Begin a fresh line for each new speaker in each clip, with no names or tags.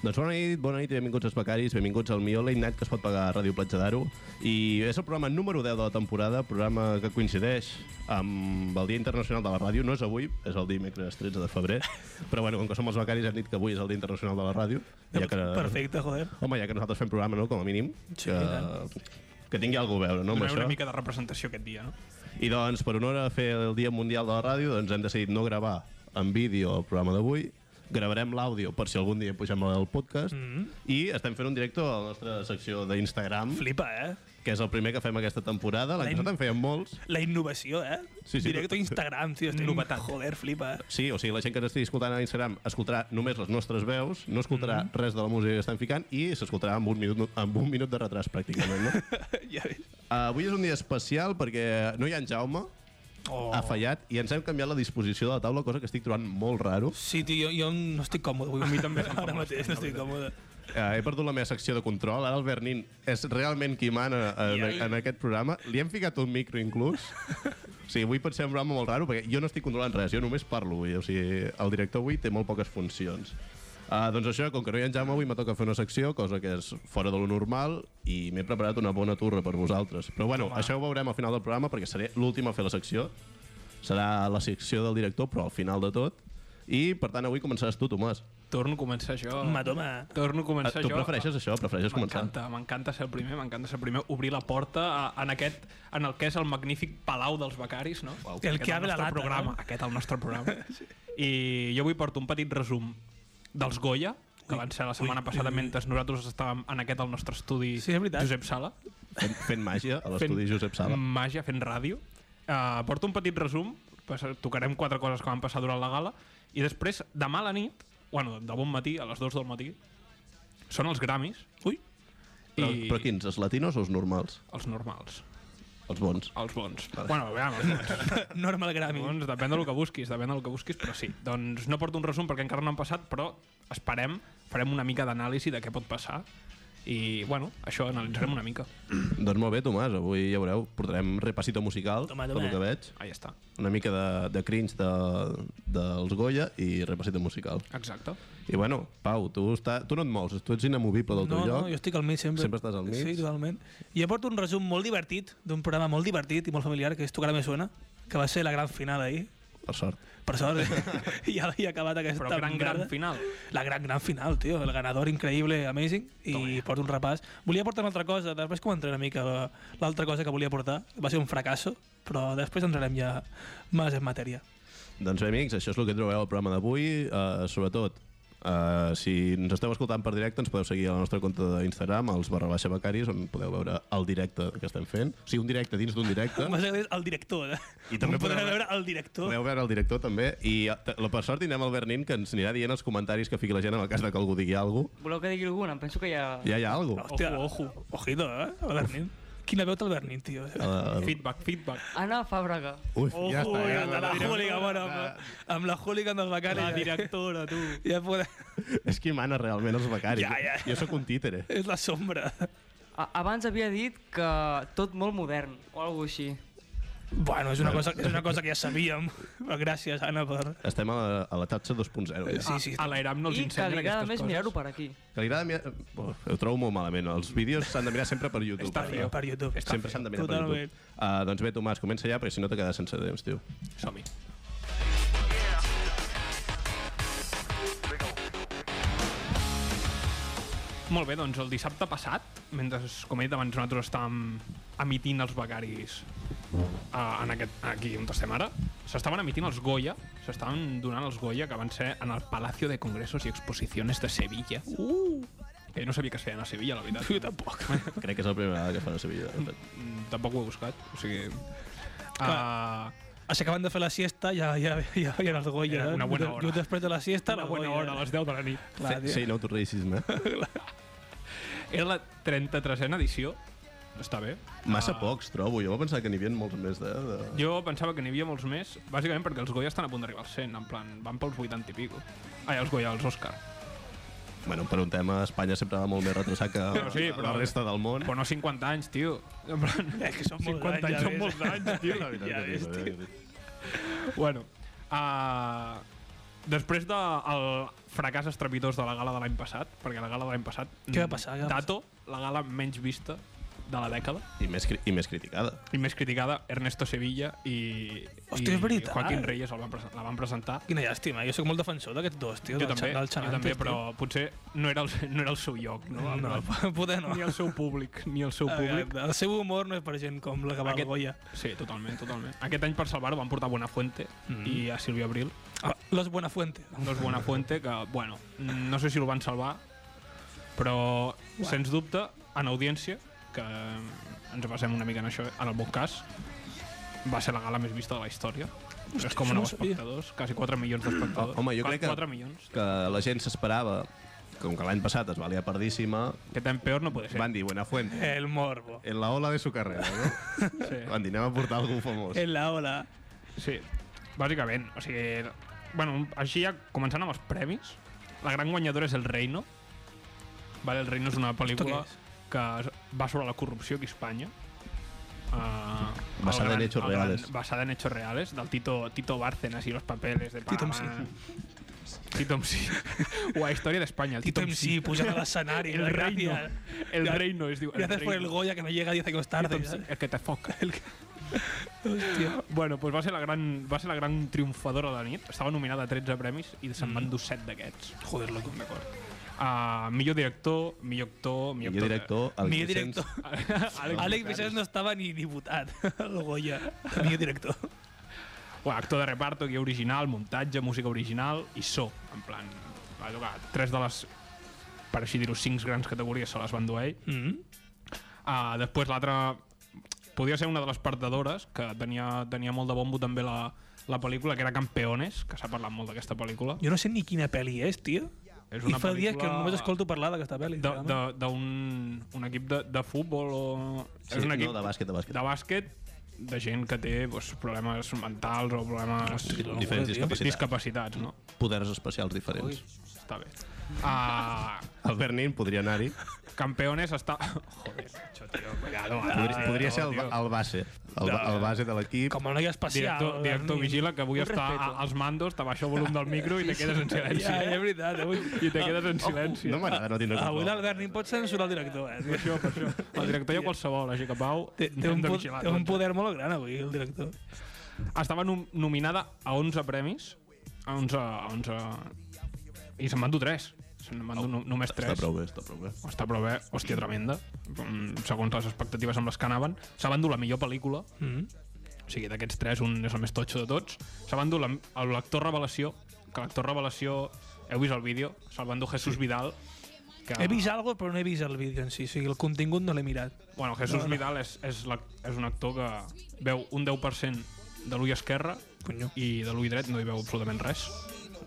Doncs bona nit, bona nit i benvinguts als becaris, benvinguts al millor late night que es pot pagar a Ràdio Platja d'Aro. I és el programa número 10 de la temporada, programa que coincideix amb el Dia Internacional de la Ràdio. No és avui, és el dimecres 13 de febrer, però bueno, com que som els becaris hem dit que avui és el Dia Internacional de la Ràdio.
Perfecte, joder.
Home, ja que nosaltres fem programa, no?, com a mínim.
Sí, i
que, que tingui alguna cosa a veure, no?, amb
Donem
això.
una mica de representació aquest dia, no?
I doncs, per honor a fer el Dia Mundial de la Ràdio, doncs hem decidit no gravar en vídeo el programa d'avui, gravarem l'àudio per si algun dia pugem al podcast mm
Mm-hmm.
-hmm. i estem fent un directe a la nostra secció d'Instagram,
Flipa, eh?
que és el primer que fem aquesta temporada. L'any
L'any-
passat en feien molts.
La innovació, eh?
Sí, sí,
Directo
però-
a Instagram, tio, està innovatant. Joder, flipa, eh?
Sí, o sigui, la gent que ens estigui escoltant a Instagram escoltarà només les nostres veus, no escoltarà
Mm-hmm.
mm -hmm. res de la música que estem ficant i s'escoltarà amb, un minut, amb un minut de retras, pràcticament. No?
ja ves.
uh, avui és un dia especial perquè no hi ha en Jaume,
Oh.
ha fallat i ens hem canviat la disposició de la taula, cosa que estic trobant molt raro.
Sí, tio, jo, jo no estic còmode. Avui. A mi també. Ara mateix no estic còmode.
Eh, he perdut la meva secció de control. Ara el Bernin és realment qui mana eh, en,
Iai.
en aquest programa. Li hem ficat un micro inclús. O sigui, avui pot ser un programa molt raro perquè jo no estic controlant res, jo només parlo avui. O sigui, el director avui té molt poques funcions. Uh, doncs això, com que no hi ha en Jaume, avui me toca fer una secció, cosa que és fora de lo normal, i m'he preparat una bona turra per vosaltres. Però bueno, Home. això ho veurem al final del programa, perquè seré l'últim a fer la secció. Serà la secció del director, però al final de tot. I, per tant, avui començaràs tu, Tomàs.
Torno a començar jo.
Home, toma.
Torno a
Ah,
començar
Tu
jo. Ah,
prefereixes això? Prefereixes començar?
M'encanta, m'encanta ser el primer, m'encanta ser el primer, obrir la porta a, en aquest, en el que és el magnífic palau dels becaris, no? Wow.
El que abre la lata, eh?
programa,
no?
Aquest el nostre programa. sí. I jo avui porto un petit resum dels Goya, que van ser la setmana passada mentre nosaltres estàvem en aquest al nostre estudi
Sí, és veritat.
Josep Sala.
Fent, fent màgia a l'estudi Josep Sala.
Mm.
Màgia fent ràdio. Uh, porto un petit resum, pues, tocarem quatre coses que van passar durant la gala, i després, demà a la nit, bueno, de bon matí, a les 2 del matí, són els Grammys. Ui! I
Però, però quins? Els latinos o els normals?
Els normals.
Els bons.
Els bons. Bueno, aviam, els bons.
Normal Grammy.
Doncs depèn del que busquis, depèn del que busquis, però sí. Doncs no porto un resum perquè encara no han passat, però esperem, farem una mica d'anàlisi de què pot passar i, bueno, això analitzarem una mica.
doncs molt bé, Tomàs, avui ja veureu, portarem repassito musical,
Toma,
pel
toma.
que veig,
Ahí està.
una mica de, de cringe de, dels Goya i repassito musical.
Exacte.
I bueno, Pau, tu, està, tu no et mous, tu ets inamovible del
No,
teu
no,
lloc.
jo estic al mig sempre.
Sempre estàs al mig.
Sí, totalment. I porto un resum molt divertit, d'un programa molt divertit i molt familiar, que és Tu cara me suena, que va ser la gran final ahir.
Per sort.
Per sort, eh? ja havia acabat aquesta
Però gran, gran
merda.
final.
La gran, gran final, tio. El ganador increïble, amazing. I porto un repàs. Volia portar una altra cosa, després comentaré una mica eh, l'altra cosa que volia portar. Va ser un fracasso, però després entrarem ja més en matèria.
Doncs bé, amics, això és el que trobareu al programa d'avui. Uh, sobretot, uh, si ens esteu escoltant per directe, ens podeu seguir a la nostra compte d'Instagram, els barra baixa becaris, on podeu veure el directe que estem fent. O sigui, un directe dins d'un directe.
M'has agradat el director, eh?
Doncs. I també
On podrà
podrà-
veure el director.
Podeu veure el director també i eh, la per sort tindrem el Bernin que ens anirà dient els comentaris que fiqui la gent en el cas de que algú digui alguna cosa.
Voleu que digui alguna? Em penso que ja...
Ja hi ha alguna cosa.
Hòstia, ojo, ojo. Ojito, eh? El Bernin. Quina veu té el Bernin, tio.
Uh,
Feedback, feedback.
Ana Fàbrega.
uf,
Ojo,
ja està. Ja,
amb la
ja,
hooligan, bueno, amb, amb la hooligan dels becaris.
La
ja.
directora, tu.
Ja podem...
és qui mana realment els becaris.
Ja, ja.
Jo sóc un títere.
És la sombra.
A- Abans havia dit que tot molt modern, o alguna així.
Bueno, és una, cosa, és una cosa que ja sabíem. Però gràcies, Anna, per...
Estem a la, a la xatxa 2.0. Ja.
Sí, sí.
A l'Eram no els
I que
ensenyen
li agrada
aquestes
més
coses.
mirar-ho per aquí.
Que li agrada mirar... Oh, ho trobo molt malament. Els vídeos s'han de mirar sempre per YouTube.
Està
eh?
feo.
Per YouTube.
Sempre s'han de mirar
Totalment.
per YouTube. Uh, doncs bé, Tomàs, comença ja, perquè si no te quedes sense temps, tio.
Som-hi. Molt bé, doncs el dissabte passat, mentre, com he dit abans, nosaltres estàvem emitint els becaris eh, en aquest, aquí on estem ara, s'estaven emitint els Goya, s'estaven donant els Goya que van ser en el Palacio de Congressos i Exposiciones de Sevilla. Uh! Que jo no sabia que es feien a Sevilla, la veritat. Jo tampoc.
Crec que és la primera vegada que fa la seva vida. de fet.
Mm, tampoc ho he buscat, o sigui... Uh,
S'acaben de fer la siesta, ja, ja, ja veien els Goya.
Era una bona
eh?
hora.
Jo després de la siesta,
una
la
bona
Goya.
hora, a les 10 de la nit.
Clar, tio.
Sí, no, eh? tu racisme.
Era la 33a edició. Està bé.
Massa pocs, trobo. Jo pensava que n'hi havia molts més de... de...
Jo pensava que n'hi havia molts més, bàsicament perquè els Goya estan a punt d'arribar al 100, en plan, van pels 80 i pico. Ai, els Goya, els Òscar.
Bueno, per un tema, Espanya sempre va molt més retrasat que
Però sí, però-
la resta del món.
Però no 50 anys, tio. En plan,
És que són molts
50
anys, ja
anys, són
ves.
molts anys, tio.
La veritat
Ja
que
ves,
dic, eh?
bueno, uh, ah, després de el, fracàs estrepitós de la gala de l'any passat, perquè la gala de l'any passat...
Què va passar? Què va passar?
Tato, la gala menys vista de la dècada
I més, cri- i més criticada.
i més criticada, Ernesto Sevilla i,
Hòstia, és
i
veritat.
Joaquín Reyes el van, presen- la van presentar.
Quina llàstima, jo sóc molt defensor d'aquests dos, tio.
Jo
del
també,
Xan- del
jo també,
Xanantes,
però potser no era el, no era el seu lloc, no?
tio. No, Eh, no, poder no.
Ni el seu públic, ni el seu públic.
El seu humor no és per gent com la que va
Aquest-
al Goya.
Sí, totalment, totalment. Aquest any per salvar-ho van portar Buenafuente mm
Mhm.
-hmm. i a Silvio Abril.
Ah, Los Buenafuente.
Dos Buenafuente que, bueno, no sé si el van salvar, però, sens dubte, en audiència, que ens basem una mica en això, en el bon cas, va ser la gala més vista de la història. 3,9
això no ho sabia.
espectadors, quasi 4 milions d'espectadors.
Home, jo
Quasi
crec que-
4 milions.
Que la gent s'esperava, com que l'any passat es va liar perdíssima,
Que tan peor no puede ser.
van dir Buenafuente.
El morbo.
En la ola de su carrera, no?
Sí.
Van dir, anem a portar algú famós.
Pues
En la ola.
Sí, bàsicament. O sigui, bueno, així ja començant amb els premis, la gran guanyadora és El Reino. Vale, El Reino és una pel·lícula
què és?
que va sobre la corrupció aquí a Espanya. Uh,
Basada en hechos reales.
Basada en hechos reales, del Tito, Tito Bárcenas y los papeles de
Tito
Panamá. Tito MC. o a Història d'Espanya, el
Tito
Tito,
MC pujant a l'escenari.
El reino.
gracias.
El
Gra-
Reino es diu.
Gracias por el
Reino.
Goya que no llega 10 años
Tito
tarde.
MC,
¿sabes?
El que te foca.
Hòstia.
Bueno, doncs va ser la gran, va ser la gran triomfadora de la nit. Estava nominada a 13 premis i se'n
Mm.
van dur 7 d'aquests.
Joder, loco.
D'acord. Uh, millor director, millor actor...
Millor director, el
Mi
Vicenç-
director.
Àlex,
Àlex Vicens no estava ni, ni votat el Goya. Mi director.
Bueno, actor de reparto, guia original, muntatge, música original i so. En plan, va tocar tres de les, per així dir-ho, cinc grans categories se les van dur a ell.
Mm.
Uh, després l'altra... Podia ser una de les perdedores, que tenia, tenia molt de bombo també la, la pel·lícula, que era Campeones, que s'ha parlat molt d'aquesta pel·lícula.
Jo no sé ni quina pel·li és, tio.
És
I fa dies que només escolto parlar d'aquesta pel·li.
de-
realment.
de- d'un un equip de, de futbol o...
Sí, no, de bàsquet, de bàsquet.
De bàsquet, de gent que té doncs, problemes mentals o problemes...
no,
Diferents
joder, tio.
discapacitats.
discapacitats, no?
Poders especials diferents.
Està bé. Ah,
El Bernin podria anar-hi.
campeones està... Joder, això, tio, cuidado. eh. ara,
Podria, podria
tio,
ser el,
tio.
el base. El, ba- el base de l'equip.
Com el noi espacial.
Director, director
ni-
vigila, que avui
Un
està
respeto.
a- als mandos, t'abaixa el volum del micro i te quedes en silenci.
Ja, ja, és veritat. Avui,
I te quedes en silenci.
No m'agrada no tindre
avui
control.
l'Albert ni pot censurar el director. Eh? tio.
Per això, per això. El director ja qualsevol, així que Pau...
Té, té,
hem
un,
de
po-
vigilar
té un
tots. eh?
poder molt gran avui, el director.
Estava nom nominada a 11 premis. A 11... A 11... I se'n van dur 3. Se'n van dur no, només 3.
Està prou bé, està prou bé.
Està prou bé. Hòstia, tremenda. Mm, segons les expectatives amb les que anaven. Se van dur la millor pel·lícula.
Mm.
O sigui, d'aquests tres, un és el més totxo de tots. Se van dur la- a l'actor revelació, que l'actor revelació... Heu vist el vídeo? Se'l van dur Jesús Vidal. Que...
He vist algo, però no he vist el vídeo en si. O sigui, el contingut no l'he mirat.
Bueno, Jesús Vidal és, és, la, és un actor que veu un 10% de l'ull esquerre
Conyo.
i de l'ull dret no hi veu absolutament res.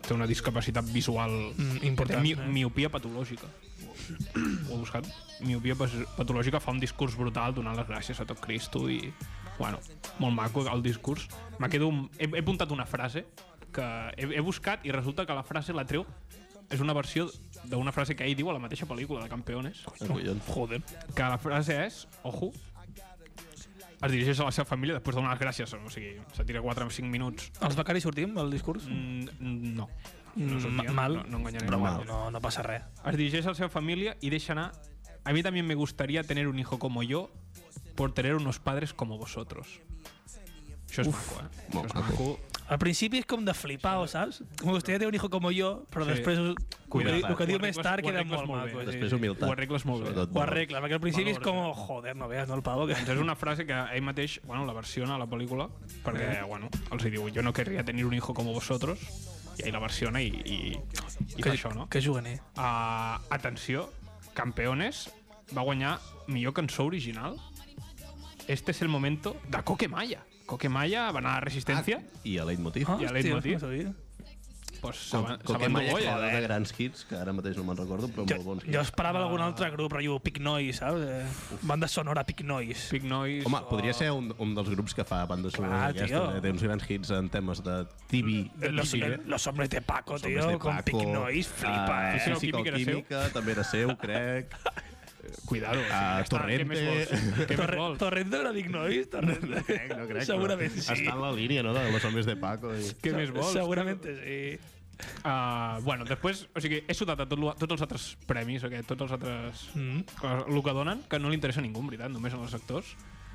Té una discapacitat visual
Mm, important,
Mi,
eh?
miopia patològica. Ho he buscat. Miopia pas- patològica fa un discurs brutal donant les gràcies a tot Cristo i... Bueno, molt maco el discurs. Me quedo... amb- He, he apuntat una frase que he, he buscat i resulta que la frase la treu és una versió d'una frase que ell diu a la mateixa pel·lícula de Campeones
Collons.
Joder.
que la frase és, ojo, es dirigeix a la seva família després de donar les gràcies, o sigui, se tira 4 o 5 minuts.
Els becaris sortim, el discurs?
Mm, no.
Mm,
No, sortia,
mal.
no, no enganyaré.
Però
ningú.
mal.
No, no passa res.
Es dirigeix a la seva família i deixa anar A mí también me gustaría tener un hijo como yo por tener unos padres como vosotros. Això és maco, eh? Això
molt
és
maco.
maco.
Al principi és com de flipar, saps? Com vostè té un hijo com jo, però
Sí.
després el que,
Cuidat.
diu- el que diu
Ho
més
arregles-
tard
ho
queda
arregles
molt
molt bé.
maco. sí.
Després humilitat.
Ho arregles molt bé.
Sobretot.
Ho arregla, perquè al principi és
Valor,
com, joder, no veus, no, el pavo que...
Doncs és una frase que ell mateix, bueno, la versiona a la pel·lícula, perquè, bueno, els hi diu, yo no querría tener un hijo como vosotros, i ell la versiona i, i, i fa això, no?
Que juganer.
Uh, atenció, Campeones va guanyar millor cançó original. Este es el momento de Coquemaya. Coquemaya va anar a Resistència. doncs,
I a Leitmotiv.
Ah,
I a
hòstia,
Leitmotiv.
no sabia.
Pues, se
Com,
van- se
com que
van
mai
dur Goya,
de
eh?
grans hits, que ara mateix no me'n recordo, però
Jo,
molt bons
jo
hits.
esperava
Ah.
algun altre grup, rotllo Pic Nois, saps? Eh, Banda sonora Pic Nois.
Big Noise.
Home, podria ser un, un dels grups que fa bandes sonores
tio.
aquestes, eh? té uns grans hits en temes de TV,
eh,
de
Los,
TV,
los hombres de Paco,
Hombres de
tio, com
Paco,
Pic Nois, flipa,
ah,
eh?
sí, sí.
Física o
Química era seu?
química, també era seu, crec.
Cuidado. o sigui,
Ah,
ja està,
Torrente.
Què més vols? Què més
Torre,
vols?
Torrente era Pic Nois? Torrente. No,
crec, no crec.
Segurament
però
sí.
Està en la línia, no?, de les homes de Paco. I...
Què més vols?
Segurament sí.
Uh, bueno, després, o sigui, he sudat a tot, lo- tots els altres premis, okay, tots els altres... Mm. El que donen, que no li interessa a ningú, en veritat, només als actors.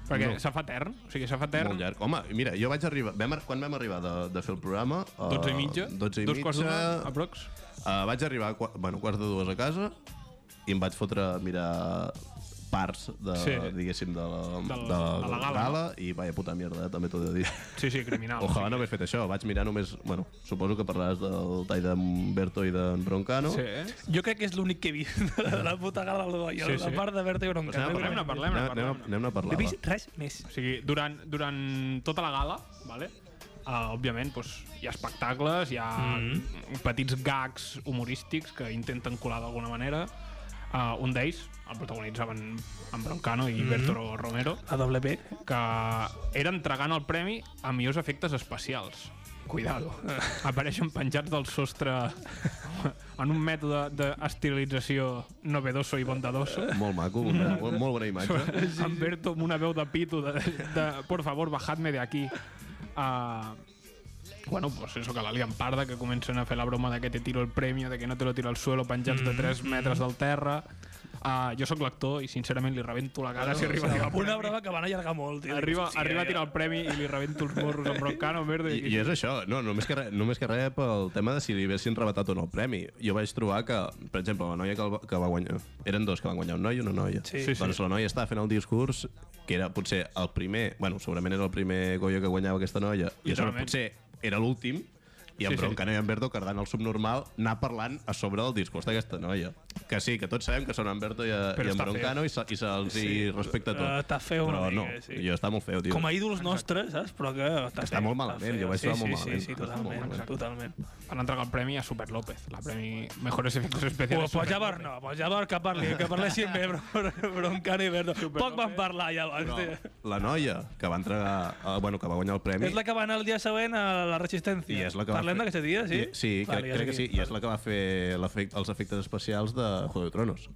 Perquè
No.
no. se fa etern, o sigui, se fa
Molt
etern.
llarg. Home, mira, jo vaig arribar... Vam, ar- quan vam arribar de, de fer el programa? Uh,
12 i mitja,
12 i
dos quarts d'una,
mitja.
aprox.
Uh, vaig arribar a qua bueno, quarts de dues a casa i em vaig fotre a mirar parts de, sí.
Sí.
diguéssim, de la,
Del-
de, la,
de la gala,
gala i vaya puta mierda, eh, també t'ho he de dir.
Sí, sí, criminal.
Ojalà no hagués fet això, vaig mirar només... Bueno, suposo que parlaràs del tall d'Humberto i d'en Broncano.
Sí,
Sí.
eh?
Jo crec que és l'únic que he vist de la puta gala del Goya,
Sí,
sí, sí.
sí.
la part de Berta i Bronca.
Anem a parlar.
Parlem-ne,
Anem,
parlem-ne,
anem, a-
parlem-ne.
anem a
No he
parlar. va.
vist res més.
O sigui, durant, durant tota la gala, vale? Uh, òbviament, doncs, hi ha espectacles, hi ha mm. petits gags humorístics que intenten colar d'alguna manera. Uh, un d'ells el protagonitzaven en Broncano i mm. Bertolo Romero,
La doble P.
que era entregant el premi a millors efectes especials. Cuidado. Apareixen penjats del sostre en un mètode d'esterilització novedoso i bondadoso.
Molt maco, molt, molt, molt bona imatge.
sí. en Berto amb una veu de pito de, de por favor, bajadme de aquí uh, bueno, pues eso, que l'Alian Parda que comencen a fer la broma de que te tiro el premi de que no te lo tiro al suelo penjats de 3 metres del terra uh, jo sóc l'actor i sincerament li rebento la cara si arriba a tirar el premi
Una brava que van allargar molt. Tio.
arriba,
Hòstia,
arriba a
ja.
tirar el premi i li rebento els morros amb broncano merda,
I,
eh. i,
I és això, no, només que, re, només que res pel tema de si li haguessin rebatat o no el premi. Jo vaig trobar que, per exemple, la noia que, el, va- que va guanyar... Eren dos que van guanyar, un noi i una noia.
Sí. Sí,
sí.
Doncs la noia estava fent el discurs que era potser el primer... Bueno, segurament era el primer Goya que guanyava aquesta noia. I a sobre
Literalment.
potser era l'últim. I en
Sí,
sí,
sí.
Broncano i en Berto, cardant el subnormal, anar parlant a sobre del discurs d'aquesta noia. Que sí, que tots sabem que són en Berto i, a,
Però
i en
està feo.
Broncano i, se, i se'ls sí. respecta tot.
Eh, està feo una
Però no,
mica, sí.
jo està molt feo, tio.
Com a ídols nostres, saps? Però que està,
Està
feo,
molt malament,
feo.
jo vaig trobar
sí,
molt
sí,
malament.
Sí, sí,
Està molt
totalment,
malament.
totalment.
van entregar el premi a Super López la premi Mejores Efectos
Pues,
Especiales
pues
Super
Javar
López.
no, pues Javar que parli, que parlessin bé, però, però, però encara hi verdo. Poc van parlar, ja.
Però
No.
la noia que va entregar, eh, bueno, que va guanyar el premi...
És la que va anar el dia següent a la resistència.
I és la que va
Parlem
fer-
d'aquesta dia, sí?
I, sí, vale, crec, crec que sí. I és la que va fer l'efect, els efectes especials de Juego de Tronos.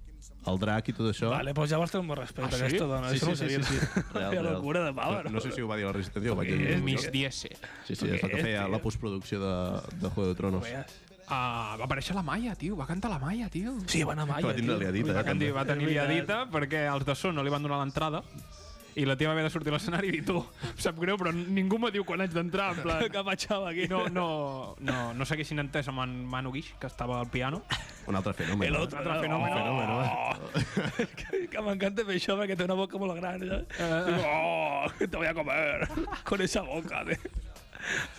El drac i tot això...
Vale, doncs llavors té un bon respecte,
Ah, sí?
aquesta dona.
Sí, sí,
això no ho
sí,
sabia.
sí, sí. Real,
Quina
real.
locura de pava,
no,
no?
no sé si ho va dir a la Resistència o va
és,
dir...
Miss Diese
Sí, sí, és la que
és,
feia
tio?
la postproducció de, de Juego de Tronos.
Veus?
Ah, va aparèixer la Maya, tio, va cantar la Maya, Ah, tio.
Sí, va anar
Que
Maya,
va tindre
tio.
liadita,
Va,
eh, també.
canvi, va tenir
És veritat.
liadita perquè els de Son no li van donar l'entrada i la tia va haver de sortir a l'escenari i dir tu, em sap greu, però ningú me diu quan haig d'entrar, en plan...
Que patxava aquí.
I no, no, no, no seguissin entès amb en Manu Guix, que estava al piano.
Un altre fenomen.
El
eh?
otro,
Un altre fenomen.
Oh.
eh.
que, que m'encanta fer això perquè té una boca molt gran. Eh?
Ah,
Oh, te voy a comer con esa boca. De...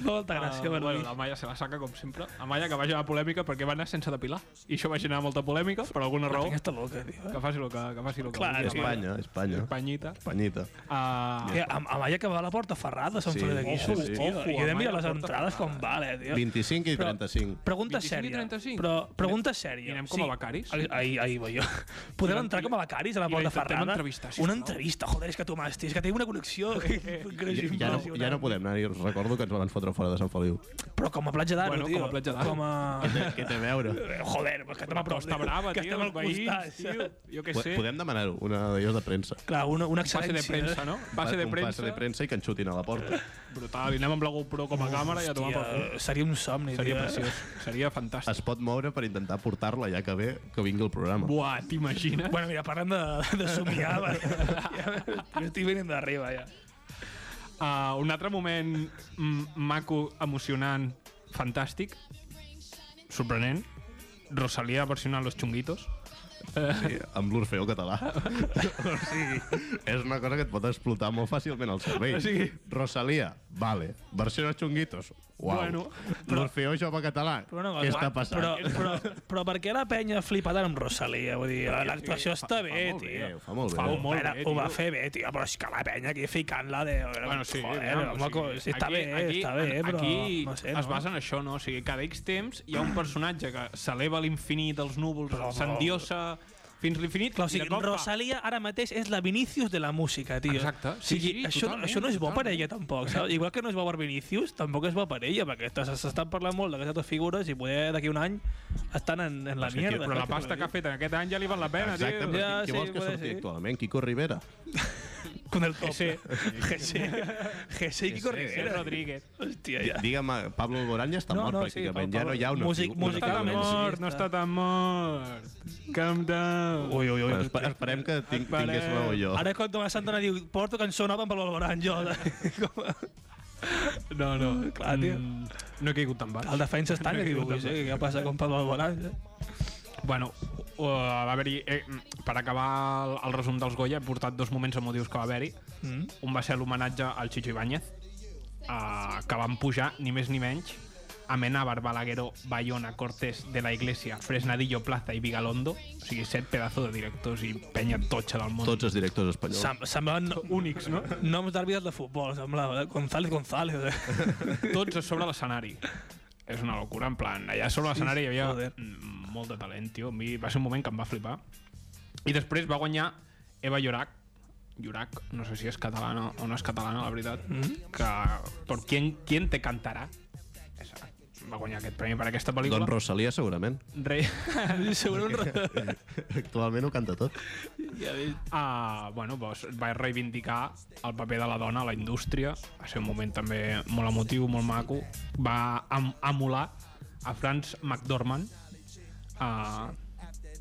Molta gràcia, uh,
Ah, Eh, bueno, la Maya se la saca, com sempre. La Maya que va generar polèmica perquè va anar sense depilar. I això va generar molta polèmica, per alguna raó.
Aquesta boca, ¿eh? tio.
Que faci el que, que, faci el que
Clar,
vulgui.
és que-
Espanya, Espanya.
Espanyita.
Espanyita.
Ah,
Eh, a, a Maia que va a la porta ferrada, se'n
Sí,
sí, de guixos,
ojo,
tio.
ojo,
I he de
Amaya
mirar les
porta
entrades com
ferrada.
vale, tio.
25 i
Però-
35.
Pregunta
25 i
sèria.
35.
Però, pregunta sèria.
I anem com a becaris?
Ahir, ahir, ahir veieu. Podem entrar com a becaris a la
i
porta
intentem
ferrada?
entrevistar, sisplau.
Una entrevista, joder, és que tu m'has, tio, és que tinc una connexió.
Ja, ja, no, ja no podem anar, us recordo que ens van fotre fora de Sant Feliu.
Però com a platja d'Aro,
Bueno,
tio.
com a platja d'Aro.
Com a...
Què té a veure?
Joder, pues que estem
la
a prop.
Costa Brava,
que
tio,
estem al
els veïns,
costat.
tio.
saps?
Jo què sé.
Podem demanar-ho, una d'elles de premsa.
Clar, una, una
Base
excel·lència.
de premsa, no? Base de
Un
premsa.
Passa de premsa i que en xutin a la porta.
Brutal, i anem amb la GoPro com a càmera i a tomar pel cul.
Hòstia, eh, seria un somni,
Seria
tio.
preciós, seria fantàstic.
es pot moure per intentar portar-la ja que ve que vingui el programa.
Buah, t'imagines?
Bueno, mira, parlem de, de somiar. va. Jo estic venint d'arriba, ja.
Uh, un altre moment mm, maco, emocionant, fantàstic, sorprenent, Rosalía versionant Los Chunguitos.
Sí, amb l'Orfeo català. o sigui, és una cosa que et pot explotar molt fàcilment al cervell.
O sigui-
Rosalia, vale. Versió de xunguitos. Uau.
Bueno,
L'Orfeo jove català.
Però no,
Què està passant?
Però, però, però per què la penya flipa tant amb Rosalia? Vull dir, l'actuació està
Fa
bé,
molt bé,
tio.
Eh, ho fa molt
Fa
bé.
molt
Era-
bé,
ho va
tio.
fer bé, tio, però és que la penya aquí ficant-la de... joder,
aviam,
home,
o sigui,
sí, està bé, està bé, però...
Aquí
no sé,
es
no?
basa en això, no? O sigui, cada X temps hi ha un personatge que s'eleva a l'infinit, als núvols,
Però no.
s'endiosa fins a l'infinit.
Clar, o
i
sigui,
de cop fa-
Rosalia ara mateix és la Vinicius de la música, tio.
Exacte.
O sigui,
Sí, sí,
això,
totalment,
això no és bo per
totalment.
ella tampoc, saps? Igual que no és bo per Vinicius, tampoc és bo per ella, perquè estàs- s'estan parlant molt d'aquestes dues figures i poder d'aquí un any estan en, en la
Sí, tio,
mierda.
Però la
saps?
pasta que ha fet en aquest any ja li val la pena,
Exacte, però
tio.
Ja,
qui, qui
sí,
vols que
poder
surti
sí.
actualment? Quico Rivera.
Con el top. GC. GC i Kiko
Sergio
Rivera.
Rodríguez.
Hòstia, ja.
Digue'm, Pablo Alborán ja està
No,
mort,
no, sí,
pràcticament.
Pablo-
ja no hi ha un
Músic-
actiu-
No està
Musicalment,
tan
sí,
mort,
està.
no està tan mort. Calm down.
Ui, ui, ui.
Bueno, espe- esperem que tinc,
Esperem.
tingués raó jo.
Ara quan Tomàs Santana diu porto cançó nova amb el Valorant, jo. Com...
No, no,
Clar, tio.
Mm, no he caigut tan baix.
El defensa està que diu, sí, què passa com pel Valorant?
Bueno, uh, va haver-hi... Eh, mm, per acabar el, el resum dels Goya, he portat dos moments emotius que va haver-hi.
Mm?
Un va ser l'homenatge al Chicho Ibáñez, uh, que van pujar, ni més ni menys, Amenábar, Balagueró, Bayona, Cortés, De la Iglesia, Fresnadillo, Plaza i Vigalondo. O sigui, set pedazos de directors i penya totxa del món.
Tots els directors espanyols.
Sem semblaven
únics, no?
noms d'àrbitres de futbol, semblava. eh? González, González. Eh?
Tots a sobre l'escenari. És una locura, en plan, allà a sobre l'escenari hi havia
joder.
mm, molt de talent, tio. A mi va ser un moment que em va flipar. I després va guanyar Eva Llorac, Llorac, no sé si és catalana o no és catalana, la veritat, que per Quién, quién te cantarà és, va guanyar aquest premi per aquesta pel·lícula.
Don Rosalia, segurament.
Rei...
Segurament...
Actualment ho canta tot.
ja dic,
Ah, bueno, doncs va reivindicar el paper de la dona a la indústria. Va ser un moment també molt emotiu, molt maco. Va em emular a Franz McDormand eh,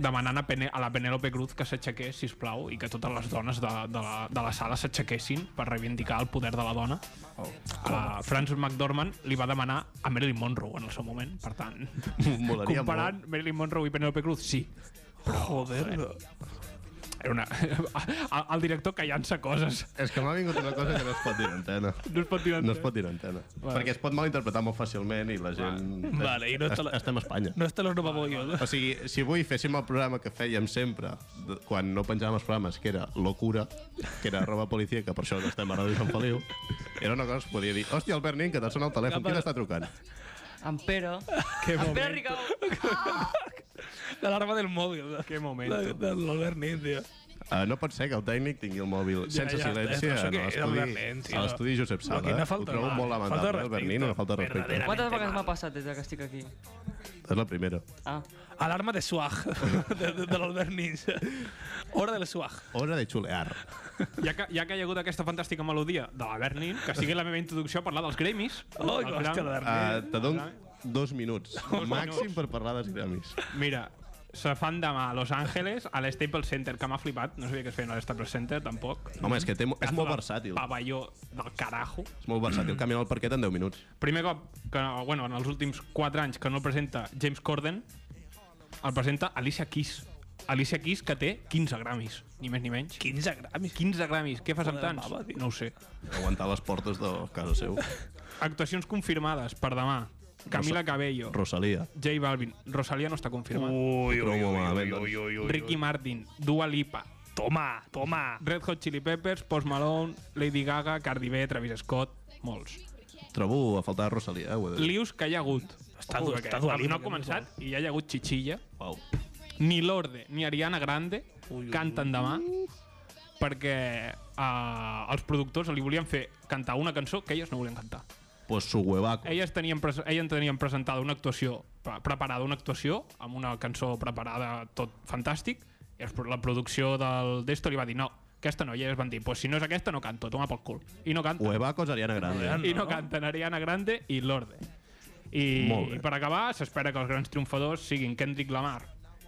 demanant a, Pene a la Penélope Cruz que s'aixequés, si plau, i que totes les dones de, de, la, de la sala s'aixequessin per reivindicar el poder de la dona. A la Franz McDormand li va demanar a Marilyn Monroe en el seu moment, per tant,
Molaria
comparant Marilyn Monroe i Penélope Cruz, sí,
Joder,
Era una... el, el director que llança coses.
molt. És que m'ha vingut una cosa que no es pot dir en antena.
No es pot dir
No es pot dir en antena. Perquè es pot malinterpretar molt fàcilment i la gent...
Vale, i no te la-
Est- Estem a Espanya.
no està l'Europa Boyo.
O sigui, si avui féssim el programa que fèiem sempre, de- quan no penjàvem els programes, que era Locura, que era roba policia, que per això no estem a Ràdio Sant Feliu, era una cosa que es podia dir, hòstia, Albert Nin, que te sona el telèfon, qui t'està trucant?
En Pere. Que en Pere Ricau.
L'alarma del mòbil. eh?
Qué moment.
De, de l'Albert Nin, tio.
Uh, no pot ser que el tècnic tingui el mòbil
Ja,
sense
ja,
silenci
però això
en
què és, Albert
l'estudi
Nin, tio?
a l'estudi Josep
Però
Sala.
quina
eh? Ho
falta de
trobo
mar-
molt
falta de
lamentable, eh, Albert Nin, una falta de respecte.
verdaderament.
Quantes vegades
mal.
m'ha passat des que estic aquí?
És la primera.
Ah.
Alarma de swag, de, de, de l'Albert Nin. Hora del swag.
Hora de xulear.
Ja que, ja que hi ha hagut aquesta fantàstica melodia de la Bernin, que sigui la meva introducció a parlar dels gremis.
Oh,
Al final,
hòstia, l'Albert Nin.
Uh, te dono dos minuts, màxim
minuts.
per parlar dels Grammys.
Mira, se fan demà a Los Angeles, a l'Staples Center, que m'ha flipat. No sabia que es feien a l'Staples Center, tampoc.
Home, és que té, mo- és molt
Pedazo de
versàtil.
Pavelló del carajo.
És molt versàtil, canviant el parquet en 10 minuts.
Primer cop, que, bueno, en els últims 4 anys que no el presenta James Corden, el presenta Alicia Keys. Alicia Keys, que té 15 gramis, ni més ni menys.
15 gramis.
15 gramis, què fas amb
Joder,
tants?
mama, tio.
No ho sé.
Aguantar les portes de casa seu.
Actuacions confirmades per demà. Camila Cabello,
Rosalia.
J Balvin, Rosalia no està confirmat.
Ui, ui, ui, ui, ui.
Ricky Martin, Dua Lipa,
Toma, toma.
Red Hot Chili Peppers, Post Malone, Lady Gaga, Cardi B, Travis Scott, molts.
Trobo a faltar Rosalia, eh? ho he de dir.
Lius que hi ha hagut.
Està
Ojo,
dur,
que
està dur,
No ha
Lipa,
començat i ja hi ha hagut xitxilla.
Uau.
Ni Lorde ni Ariana Grande canten demà perquè eh, els productors li volien fer cantar una cançó que elles no volien cantar.
Pues su huevaco.
Elles tenien, pres- elles tenien presentada una actuació, pre- preparada una actuació, amb una cançó preparada, tot fantàstic, i els pro- la producció del d'esto li va dir no, aquesta no, i elles van dir, pues si no és aquesta no canto, toma pel cul. I no canten.
Huevaco és Ariana Grande.
I no canten Ariana Grande i Lorde. I,
Molt bé.
i per acabar, s'espera que els grans triomfadors siguin Kendrick Lamar,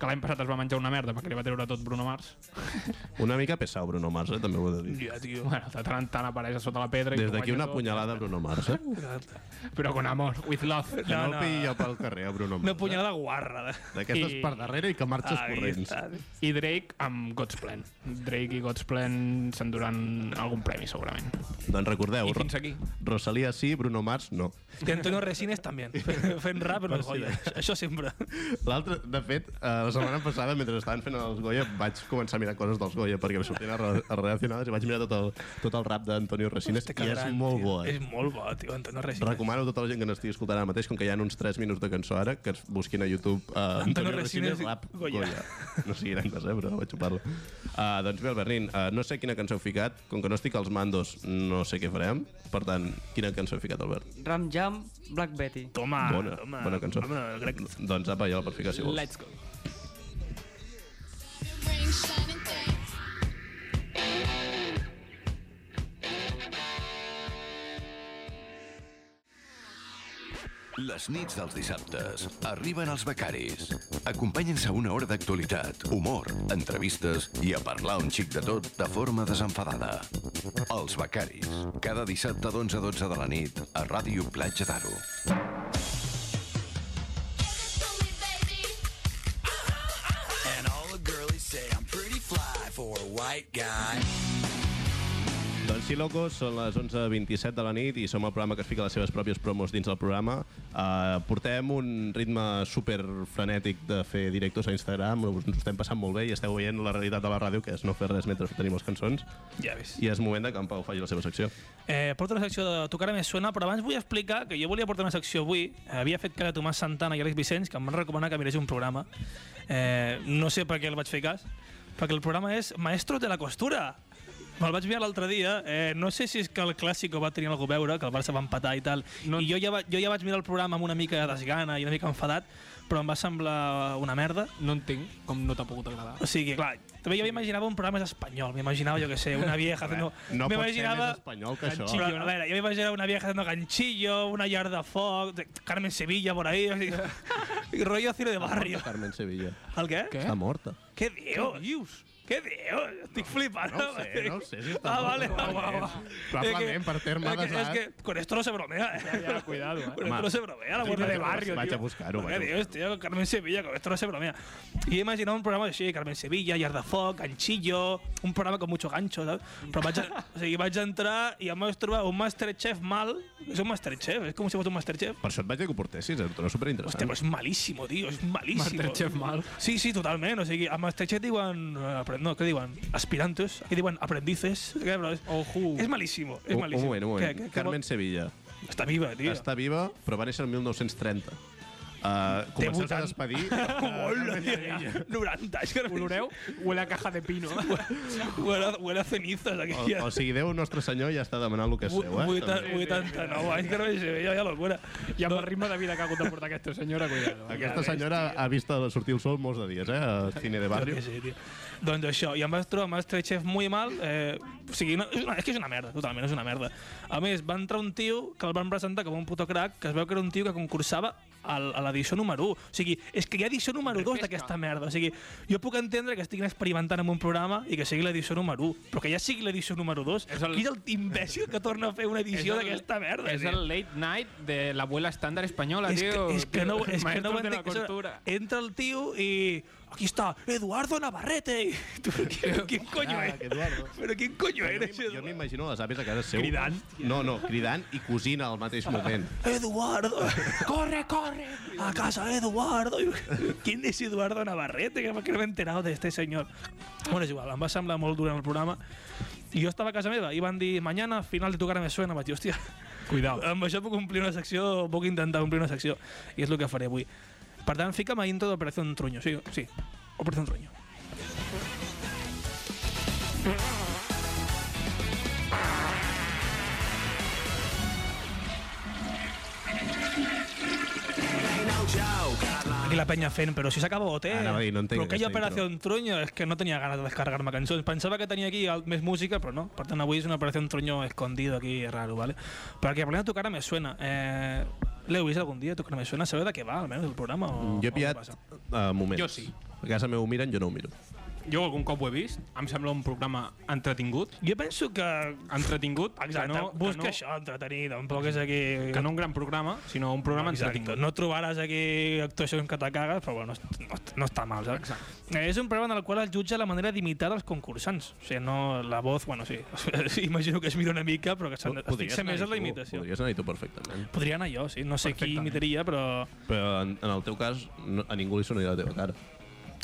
que l'any passat es va menjar una merda perquè li va treure tot Bruno Mars.
Una mica pesau Bruno Mars, eh? també ho he de dir.
Ja, tio.
Bueno, de tant en tant apareix a sota la pedra. i
Des
ho
d'aquí
guanya
una
tot.
punyalada a Bruno Mars, eh?
Però con amor, with
Que
love.
no,
no.
el pilli jo pel carrer, a Bruno
Una
Mars.
punyalada guarra. de-
D'aquestes
I-
per darrere i que marxes
Ahí
corrents.
està, tio.
I Drake amb God's Plan. Drake i God's Plan s'enduran algun premi, segurament.
Doncs recordeu,
I fins aquí.
Rosalia sí, Bruno Mars no.
I Antonio Resines també, fent rap en el Goya. Això sempre.
L'altre, de fet, eh, la setmana passada, mentre estaven fent els Goya, vaig començar a mirar coses dels Goya, perquè em sortien a, re- a relacionades i vaig mirar tot el, tot el rap d'Antonio Resines,
Hòstia,
i
que
és
gran,
molt
tio.
bo, eh?
És molt bo, tio, Antonio Resines.
Recomano a tota la gent que n'estigui escoltant ara mateix, com que hi ha uns 3 minuts de cançó ara, que es busquin a YouTube uh, Antonio Resines
i
rap
Goya.
Goya. No sigui gran cosa, eh, però vaig xupar-lo. Uh, doncs bé, Albert Nin, uh, no sé quina cançó he ficat. Com que no estic als mandos, no sé què farem. Per tant, quina cançó he ficat, Albert?
Ram Jam, Black Betty.
Toma,
bona,
toma.
bona cançó.
Ah, Home, crec...
Doncs apa, ja la pots ficar, si vols.
go.
Ring shining things. Les nits dels dissabtes arriben els becaris. Acompanyen-se a una hora d'actualitat, humor, entrevistes i a parlar un xic de tot de forma desenfadada. Els becaris. Cada dissabte d'11 a 12 de la nit a Ràdio Platja d'Aro.
And all the girlies say I'm pretty fly for a white guy.
Doncs sí, locos, són les 11.27 de la nit i som el programa que es fica les seves pròpies promos dins del programa. Uh, portem un ritme super frenètic de fer directos a Instagram, us ens ho estem passant molt bé i esteu veient la realitat de la ràdio, que és no fer res mentre tenim les cançons.
Ja ves.
I és moment de que en Pau faci la seva secció.
Eh, porto una secció de Tocar més suena, però abans vull explicar que jo volia portar una secció avui. Havia fet cara a Tomàs Santana i Àlex Vicenç, que em van recomanar que mirés un programa. Eh, no sé per què el vaig fer cas, perquè el programa és Maestros de la Costura. Me'l vaig mirar l'altre dia, eh, no sé si és que el Clàssico va tenir alguna cosa a veure, que el Barça va empatar i tal, no. i jo ja, va, jo ja vaig mirar el programa amb una mica de desgana i una mica enfadat, però em va semblar una merda,
No entenc com no t'ha pogut agradar.
o sigui, clar, també jo m'imaginava un programa més espanyol, m'imaginava, jo que sé, una vieja...
No
No,
pot ser
m'imaginava-
més espanyol que això.
Pero, a ver, yo me imaginaba una vieja haciendo ganchillo, una yarda Fox, de- Carmen Sevilla por ahí, así, y rollo cine de barrio.
Carmen Sevilla.
¿Al qué? ¿Qué,
¿Qué? Eh?
Està morta.
Dios? ¿Qué Dios? Estoy flipando.
no ho sé, no ho sé si està
Ah, vale,
molt
va, va,
malament.
va.
Probablement, per terme
es que, es
d'edat.
que con esto no se bromea, eh.
Ja, cuidado, eh?
Con esto no se bromea, la muerte
Vaig
de
a-
barrio,
Vaig
tío.
a buscar-ho.
¿Qué
vaig a
Dios, tío? Carmen Sevilla, con esto no se bromea. Y he imaginado un programa así, Carmen Sevilla, yarda Fox, ganchillo, un programa con mucho gancho, ¿sabes? Però vaig, a, o sigui, vaig entrar i em vaig trobar un Masterchef mal, és un Masterchef, és com si fos un Masterchef,
Per això et vaig dir que ho portessis, em torna
Hostia,
superinteressant.
però és malísimo, tio, és malísimo.
Masterchef mal.
Sí, sí, totalment. O sigui, a Masterchef diuen... eh, apre- No, què diuen? Aspirantes. Aquí diuen aprendices. Què, però és,
Ojo.
és malísimo, és
Un, un
malísimo.
moment, un moment.
Què, què,
oh, Carmen Sevilla
Què, està viva, tio.
està viva, però va néixer el 1930. Uh,
Té
Comences a
80.
despedir. Eh,
Hola, tio, ja. 90, és que...
Oloreu? Huele a caja de pino.
Huele, a- huele a cenizas, aquí.
O,
ja.
o sigui, Déu Nostre Senyor ja està demanant el que és
Vu-
seu, eh?
vuita-
també.
89 anys, Carmen Sevilla, vaya locura.
I amb el ritme de vida que ha hagut de portar aquesta senyora, cuidado. Eh?
Aquesta senyora ha vist sortir el sol molts de dies, eh? A Cine de Barrio.
Sí, tio. Doncs això, i em vaig trobar Masterchef molt mal, eh, o sigui, no, és, una, és que és una merda, totalment, és una merda. A més, va entrar un tio que el van presentar com un puto crac, que es veu que era un tio que concursava al, a l'edició número 1. O sigui, és que hi ha edició número 2 d'aquesta merda. O sigui, jo puc entendre que estiguin experimentant amb un programa i que sigui l'edició número 1, però que ja sigui l'edició número 2,
És
és
el-
el... qui és el imbècil que torna a fer una edició
el-
d'aquesta merda?
És
tio?
el late night de l'abuela estàndar espanyola,
Es
tio.
que, es que no, es que no
Maestros
ho
de la
entenc, o sea,
cultura.
entra el tío y aquí está Eduardo Navarrete. Y tú, ¿quién, quién coño
Ah,
es?
que Eduardo.
Pero quién coño
Jo
eres?
m'im- Jo
Eduardo?
m'imagino les àvies a casa seu.
Cridant.
No, no, cridant i cosint al mateix moment.
Eduardo, corre, corre, a casa de Eduardo. ¿Quién es Eduardo Navarrete? Que que no me he enterado de este señor. Bueno, és igual, em va semblar molt durant el programa. I jo estava a casa meva i van dir mañana final de tu cara me suena, vaig dir, hòstia,
Cuidao.
amb això puc complir una secció, puc intentar complir una secció, i és el que faré avui. Per tant, fica'm a intro d'Operació Truño, sí, sí, Operació Truño. Aquí la penya fent, però si s'acaba OT.
Anava a dir, Ah, no entenc
però aquella
aquesta
operació en truño és que no tenia ganes de descarregar-me cançons. Pensava que tenia aquí al- més música, però no. Per tant, avui és una operació en truño escondido aquí, raro, ¿vale? Però que parlem de tocar me suena. Eh, L'heu vist algun dia, tocar me suena? Sabeu de què va, almenys, el programa? O,
Jo he
o
pillat
què passa?
uh, moments.
Jo sí.
A casa meu ho miren, jo no ho miro.
Jo algun cop ho he vist. Em sembla un programa entretingut.
Jo penso que...
Entretingut.
Exacte,
que no,
busca
que no,
això, entretenir, tampoc és aquí...
Que no un gran programa, sinó un programa
Exacte,
entretingut.
no trobaràs aquí actuacions que te cagues, però bueno, no, no, no està mal, saps? Exacte. Eh, és un programa en el qual es jutja la manera d'imitar els concursants. O sigui, no la voz, bueno, sí, imagino que es mira una mica, però que s'han de
Podries
fixar més
anar-hi
en la
tu,
imitació.
Podries anar-hi tu perfectament.
Podria anar jo, sí, no sé qui
Perfectament.
imitaria, però
Però en, en el teu cas, no, a ningú li sonaria la teva cara.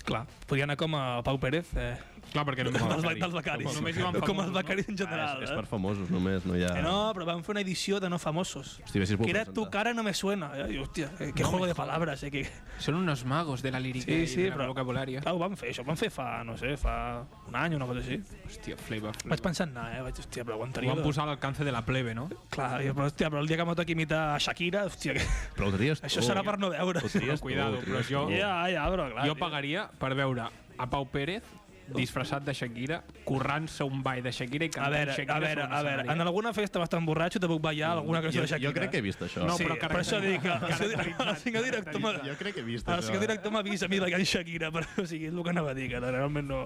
clar, podria anar com a Pau Pérez, eh,
Clar, perquè no
dels, ba- dels becaris,
Només hi van famosos,
com els becaris en
Ah,
general.
és, és
eh?
per famosos, només, no hi ha...
Eh, no, però van fer una edició de no famosos.
Hosti, vés si es vol
que era
presentar.
tu cara no me suena. Eh? I, hòstia, eh, que juego de palabras, eh? Que...
Són uns magos de la lírica
Sí, sí,
i del
però...
vocabulari.
Clar, ho van fer, això ho van fer fa, no sé, fa un any o una cosa així.
Hòstia, flavor,
Vaig
flavor.
pensar en anar, eh? Vaig, hòstia, però
Ho
aguantaria.
van posar a l'alcance de la plebe, no?
Clar, jo, però, hòstia, però el dia que m'ho toqui imitar a Shakira, hòstia, que...
Però ho tries
això serà per no veure.
Ho tries tu,
Cuidado,
ho tries
però jo-
tu.
Ja, ja, però clar.
Jo
tio.
pagaria per veure a Pau Pérez disfressat de Shakira, currant-se un ball de Shakira i
A
cantant
veure,
Shakira
a veure,
sobre un
a veure,
escenari.
en alguna festa bastant borratxo te puc ballar alguna
Mm. Jo,
cançó de Shakira.
jo crec que he vist això.
No,
sí,
però
per això dic que el senyor- el senyor director m'ha-
Jo crec que he vist
el
això. eh.
senyor director m'ha vist a mi ballant Shakira, però o sigui, és el que anava a dir, que realment no...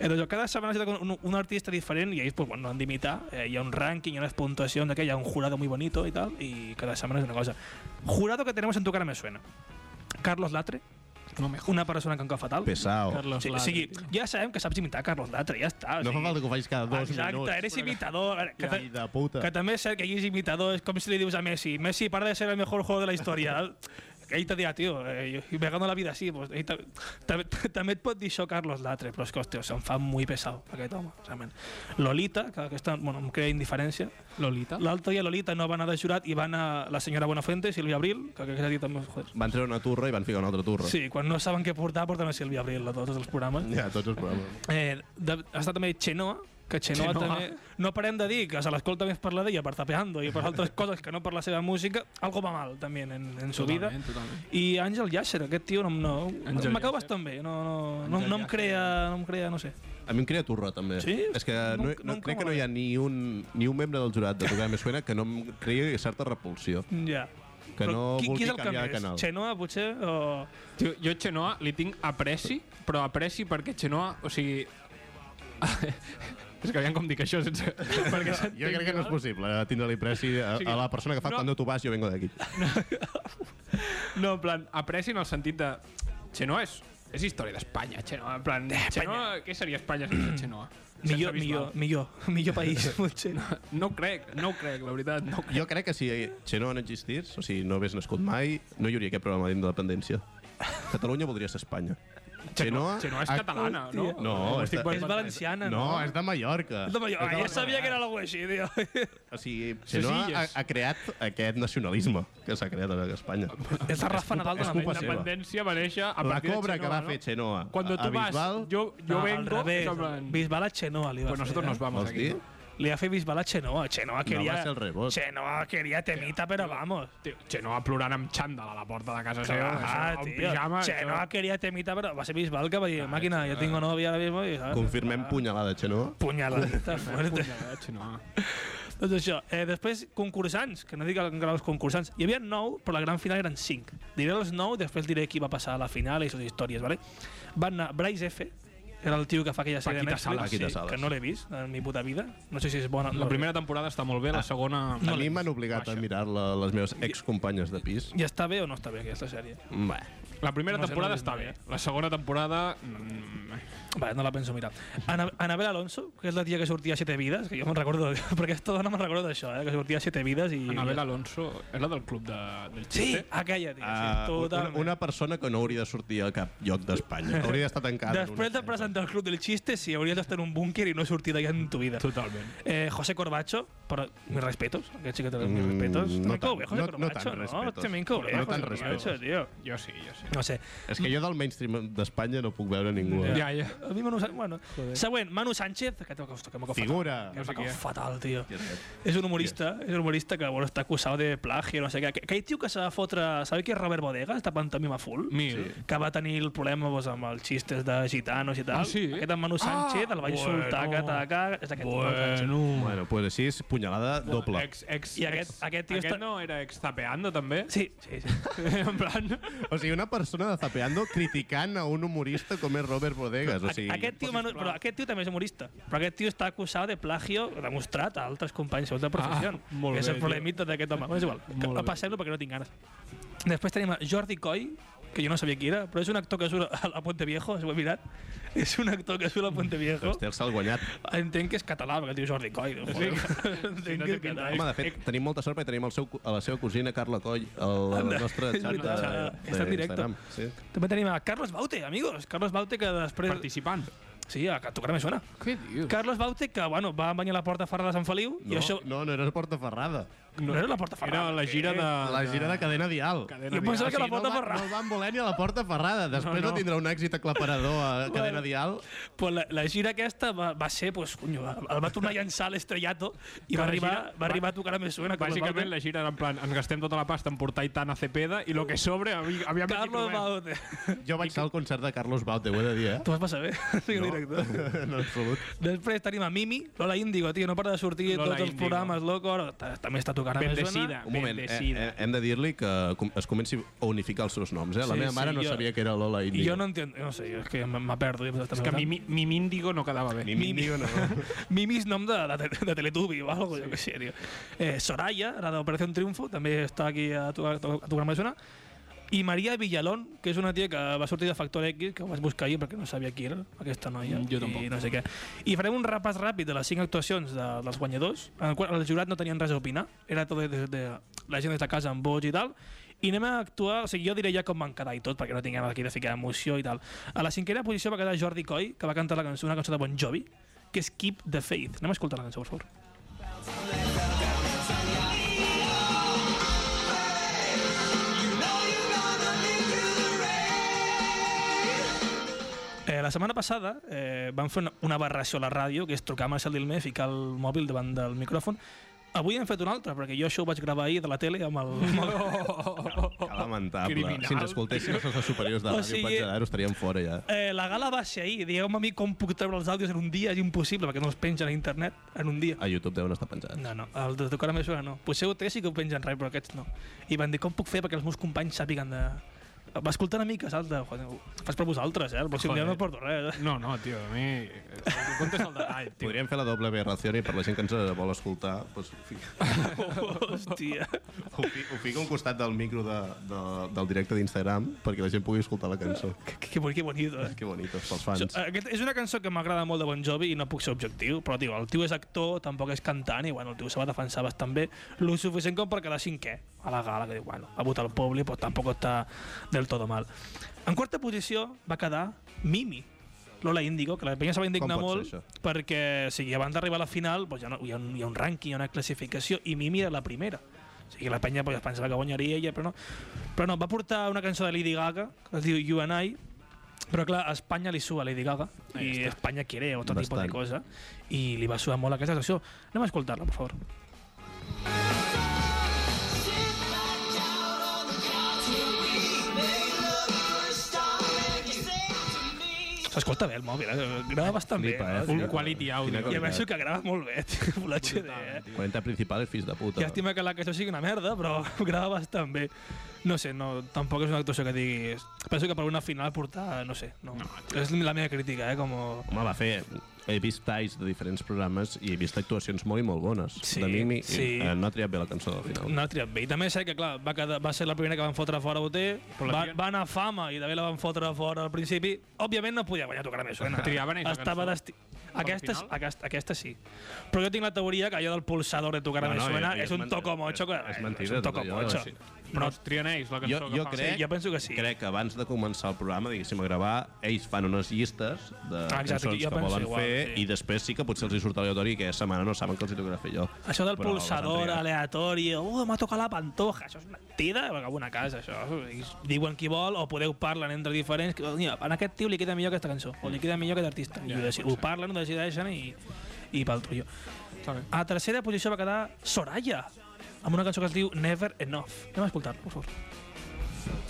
Eh, doncs, cada setmana cita un, un artista diferent i ells pues, bueno, han d'imitar, eh, hi ha un rànquing, hi ha unes puntuacions, aquell, hi ha un jurado muy bonito i tal, i cada setmana és una cosa. Jurado que tenemos en tu cara me suena. Carlos Latre,
No me jodas.
una persona que en cau fatal.
Pesao.
Carlos
Sí, o
Latre,
sigui,
tio.
ja sabem que saps imitar Carlos Latre, ja està. o
No fa
sigui,
falta que ho facis cada dos
Exacte,
minuts.
eres imitador. A veure, Que,
Fill de puta.
que també és cert que ell és imitador, és com si li dius a Messi, Messi, para de ser el mejor jugador de la història. que ell te dirà, tio, eh, jo me gano la vida així. Pues, ell ta- ta- ta- també et pot dir això Carlos Latre, però és que, hòstia, se'm fa muy pesat aquest home, realment. Lolita, que aquesta bueno, em crea indiferència.
Lolita.
L'altre dia Lolita no va anar de jurat i va anar la senyora Buenafuente, Silvia Abril, que aquesta tia també... Joder.
Van treure una turra i van ficar una altra turra.
Sí, quan no saben què portar, porten a Silvia Abril a tots els programes.
Ja, tots els programes.
Eh, de, està també Xenoa, que Xenoa,
Xenoa.
també... No parem de dir que se l'escolta més per la d'ella, per tapeando i per altres coses que no per la seva música, algo va mal, també, en, en su vida.
Totalment, totalment.
I Àngel Yasser, aquest tio no, no
Àngel
m'acaba
Yasser.
bastant bé, no, no, no,
Àngel
no, em
Yasser.
crea, no em crea, no sé.
A mi em crea turra, també.
Sí?
És que
No-
no,
no
no,
em cau
crec que no hi ha ni un, ni un membre del jurat de Tocar Més Suena que no em creï certa repulsió.
Ja.
Que no
qui, qui
vulgui
és el que
canviar de
més?
canal.
Xenoa, potser, o...
Tio, jo a Xenoa li tinc apreci, però apreci perquè Xenoa, o sigui... és que aviam com dic això sense... perquè s'entengui
Jo crec que no és
mal.
possible eh, tindre-li preci a,
Sí.
a la persona que fa
No.
quan tu vas, jo vengo d'aquí.
No, en plan, apreci en el sentit de... Xenoa és, és història d'Espanya, Xenoa. En plan, Xenoa, què seria Espanya sense Xenoa? Sense
Millor, millor,
Bisbal.
millor, millor país, potser.
No ho crec, no ho crec, la veritat. No ho crec.
Jo crec que si Xenó no existís, o sigui, no hagués nascut mai, no hi hauria aquest programa d'independència. Catalunya voldria ser Espanya. Xenoa...
Xenoa és catalana, no?
Hòstia.
No,
Ho
és
estic
de-
pensant.
és valenciana,
No,
eh, no?
és de Mallorca.
És de Mallorca. Ah, ja
Mallorca.
sabia que era alguna cosa així, tio.
O sigui, Xenoa
Ses
ha,
illes.
ha creat aquest nacionalisme que s'ha creat a Espanya.
és el Rafa
és
Nadal de la
culpa
ment.
seva.
Independència va néixer a
La
partir de
cobra que
Xenoa,
va
no?
fer Xenoa
Cuando
a- a
tú vas,
Bisbal-
yo, yo
no, al
vengo...
revés.
en plan,
Bisbal a Xenoa li va
Pues nosotros
fer, eh?
nos vamos
Vols
aquí.
dir?
Le hace Bisbal a Chenoa. Chenoa quería.
va ser el rebot.
Chenoa quería temita, pero vamos.
Tio, Xenoa plorant amb xandall a la porta de casa seva.
Ah,
això, en
tío.
pijama, Ah,
Chenoa
això.
quería temita, pero va a ser Bisbal que va a decir, máquina, yo tengo novia ahora mismo. Y, ¿sabes?
Confirmem punyalada, Xenoa.
Puñaladita fuerte.
Punyada, Xenoa.
doncs això. Eh, després, concursants, que no dic que els concursants. Hi havia nou, però la gran final eren cinc. Diré els nou, després diré qui va passar a la final i les històries, ¿vale? Van anar Bryce F., era el tio que fa aquella sèrie de
Paquita
Netflix,
Salas,
Paquita
sí,
Salas.
que no l'he vist en mi puta vida. No sé si és bona.
La primera temporada està molt bé, la segona...
A mi m'han obligat a mirar-la les meves excompanyes de pis.
Ja està bé o no està bé aquesta sèrie?
Bé.
La primera
No sé, no
temporada
l'he
està bé. eh?
vist
La segona temporada... mm,
Vale, no la penso mirar. Ana Anabel Alonso, que és la tia que sortia a Siete Vides, que jo me'n recordo, perquè aquesta dona me'n recordo d'això, eh, que sortia a Siete Vides i...
Anabel Alonso és la del club de, del
Sí,
Chiste.
aquella tia, sí,
Uh, una,
totalment.
una persona que no hauria de sortir a cap lloc d'Espanya. Hauria d'estar tancada. en una
Després de
cel·la.
presentar el Club del Xiste, sí, hauries d'estar en un búnquer i no sortir d'allà en tu vida.
Totalment.
Eh, José Corbacho, però mis respetos, aquest sí que té mis respetos.
Mm,
Mm,
no
no cau
tan-
bé, José
no- no
Corbacho,
tan respetos.
També cau bé,
No
José
tan
Corbacho,
respetos.
tio.
Jo sí, jo sí.
No sé.
És que jo del mainstream d'Espanya no puc veure ningú. eh?
Ja, ja.
A mi Manu Sánchez, bueno. Següent, Manu Sánchez, que té que m'ha cau
Figura.
Que m'ha cau
qui és.
fatal, tio.
Qui és aquest?
És un humorista, és un humorista que bueno, està acusat de plagi, no sé què. Aquell tio que s'ha de fotre... Sabeu qui és Robert Bodegas, de Pantomima Full?
Mil.
Que va tenir el problema doncs, amb els xistes de gitanos i tal.
Ah, sí?
Aquest en Manu Sánchez
Ah,
el va insultar, bueno.
bueno.
que taca... És aquest Manu Sánchez.
Bueno.
Bueno, pues així és punyalada doble.
Ex, ex,
I aquest-
ex,
aquest tio
aquest
està-
no era ex-tapeando, també?
Sí, sí, sí.
en plan...
O sigui, una persona de Zapeando criticant a un humorista com és Robert Bodegas. O sigui,
aquest, tio, Manu, però aquest tio també és humorista. Però aquest tio està acusat de plagio demostrat a altres companys seus de professió.
Ah, molt
és
bé,
el
tio.
problemita d'aquest home. Bueno, és igual, que-
Molt bé.
passem-lo perquè no tinc ganes. Després tenim a Jordi Coy, que jo no sabia qui era, però és un actor que surt a, a Puente Viejo, us ho he mirat. És un actor que surt a Puente Viejo.
Hòstia, se'l guanyat.
Entenc que és català, perquè el diu Jordi Coy. No?
Sí, sí,
Entenc
no
que
té
és
pinta.
català.
Home, de fet, tenim molta sort perquè tenim el seu, cu- a la seva cosina Carla Coll al al
Anda,
nostre
és
xat de,
veritat,
de,
està en directe.
Instagram. Sí.
També tenim a Carlos Baute, amigos. Carlos Baute, que després...
Participant.
Sí, a tocar me suena.
Què dius?
Carlos Baute, que bueno, va banyar la porta fora de Sant Feliu.
No,
I això...
no, no era porta ferrada.
No, era la Porta Ferrada.
Era la gira de...
Ah,
La gira de cadena dial.
Cadena
Jo pensava
O
que la
sigui,
Porta
no el va-
Ferrada...
No el van voler ni a la porta ferrada. Després no,
no.
tindrà un èxit aclaparador a cadena dial.
Pues la, la gira aquesta va, va ser, pues, conyo, va- el va tornar a llançar a l'estrellato i
la
va arribar,
gira-
va arribar a tocar a més suena.
Bàsicament la gira era en plan, ens gastem tota la pasta en portar Itana Cepeda i lo que sobre, avi- aviam què
Carlos
trobem.
Baute.
Jo vaig ser al concert de Carlos Baute, ho he de dir, eh?
T'ho vas passar bé? Sí, no. director.
en absolut.
Després tenim a Mimi, Lola Índigo, tio, no para de sortir
Lola
Lola tots els
Índigo.
programes, loco, ara ta- també està tocant a més
Bendecida.
Un moment, eh,
Bendecida.
eh, hem de dir-li que com- es comenci a unificar els seus noms, eh? La
Sí,
meva mare
sí,
no
jo-
sabia que era Lola
I
Índigo.
jo no entenc, no sé, jo és que me me perdo. jo també
És que
tant.
mi, mi Míndigo no quedava bé.
Ni Mimi. No.
Mimi és nom de, de, de Teletubi o algo, sí. jo què sé, tio. Eh, Soraya, la d'Operació Triunfo, també està aquí a tocar, a tocar amb Zona. I Maria Villalón, que és una tia que va sortir de Factor X, que ho vaig buscar ahir perquè no sabia qui era aquesta noia.
Mm, Jo tampoc.
I no sé què. I farem un repàs ràpid de les cinc actuacions de, dels guanyadors, en el qual el jurat no tenien res a opinar, era tot de, de, de la gent d'esta casa amb vots i tal, i anem a actuar, o sigui, jo diré ja com van quedar i tot, perquè no tinguem aquí de ficar emoció i tal. A la cinquena posició va quedar Jordi Coy, que va cantar la cançó, una cançó de Bon Jovi, que és Keep the Faith. Anem a escoltar la cançó, per favor. Eh, la setmana passada eh, vam fer una, una aberració a la ràdio, que és trucar a Marcel Dilmé, ficar el mòbil davant del micròfon. Avui hem fet una altra, perquè jo això ho vaig gravar ahir de la tele amb el... Amb el...
Que lamentable.
Criminal.
Si ens escoltessin els nostres superiors de
O
ràdio,
sigui-
Patge d'Aro, estaríem fora ja.
Eh, la gala va ser ahir. Digueu-me a mi com puc treure els àudios en un dia. És impossible, perquè no els pengen a internet en un dia.
A YouTube deuen estar penjats.
No, no, el de tocar a mesura no. Potser ho té sí que ho pengen res, però aquests no. I van dir, com puc fer perquè els meus companys sàpiguen de... Va escoltar una mica, salta. Joder, ho fas per vosaltres, eh? El pròxim dia
Joder.
no porto res. eh?
No, no, tio, a mi... eh, Comptes el detall, tio.
Podríem fer la doble aberració i per la gent que ens vol escoltar, doncs, ho fi-
Hòstia.
ho, fi, ho fico a un costat del micro de, de, del directe d'Instagram perquè la gent pugui escoltar la cançó.
Que, que, que bonito, eh?
Que bonitos pels
Això,
fans.
eh, aquest, és una cançó que m'agrada molt de Bon Jovi i no puc ser objectiu, però tio, el tio és actor, tampoc és cantant i bueno, el tio se va defensar bastant bé, lo suficient com per quedar cinquè a la gala, que diu, bueno, ha votat el poble, però tampoc està del todo mal. En quarta posició va quedar Mimi, Lola Índigo, que la penya se va indignar
pot
molt
ser això?
perquè o sigui, abans d'arribar a la final doncs, hi, ha, no- hi, ha un, hi ha un rànquing, hi ha una classificació i Mimi era la primera. O sigui, la penya doncs, pensava que guanyaria ella, però no. Però no, va portar una cançó de Lady Gaga, que es diu You and I, però clar, a Espanya li sua Lady Gaga i Espanya quiere otro tipo de
Bastant.
cosa i li va suar molt aquesta cançó. Anem a escoltar-la, per favor. S'escolta bé el mòbil, eh? grava bastant
Flipa, eh?
bé.
Un quality audio.
Eh? I a més que grava molt bé, tio, Full HD, eh?
40 principales, fills de puta.
Llàstima que la cançó sigui una merda, però grava bastant bé. No sé, no, tampoc és una actuació que diguis... Penso que per una final portar, no sé, no. és la meva crítica, eh? Com...
Home, va fer... He vist talls de diferents programes i he vist actuacions molt i molt bones.
Sí,
de Mimi,
sí.
i, eh, no ha triat bé la cançó del final.
No ha triat bé. I també sé que, clar, va, quedar, va ser la primera que van fotre fora a OT,
la
va,
tia-
va anar a fama i també la van fotre fora al principi. Òbviament no podia guanyar tocar més. eh?
Triaven aquesta
Estava
cançó?
desti... Aquesta,
final?
aquesta, aquesta sí. Però jo tinc la teoria que allò del pulsador de tocar
No,
no,
no,
no, suena
és-
és,
és
un
men-
toco mocho. que-
és- és mentida,
un
tot
toco
allò,
mocho.
sí.
Però els trianeis, la
Jo,
cançó
jo
que fa.
crec,
Sí, jo penso que sí.
crec que abans de començar el programa, diguéssim, a gravar, ells fan unes llistes de
Ah, exacte,
cançons que
jo penso
volen
igual,
fer
sí.
i després sí que potser els hi surt aleatori i aquesta setmana no saben que els hi tocarà fer jo.
Això del
Però
pulsador
les han triat.
aleatori, oh, m'ha tocat la pantoja, això és mentida, perquè a una casa, això. Diuen qui vol, o podeu parlen entre diferents, que, mira, en aquest tio li queda millor aquesta cançó, o li queda millor aquest artista. I ho, deci- ho parlen, ho decideixen i, i pel trullo. A tercera posició va quedar Soraya, amb una cançó que es diu Never Enough. Anem a escoltar-la, per favor.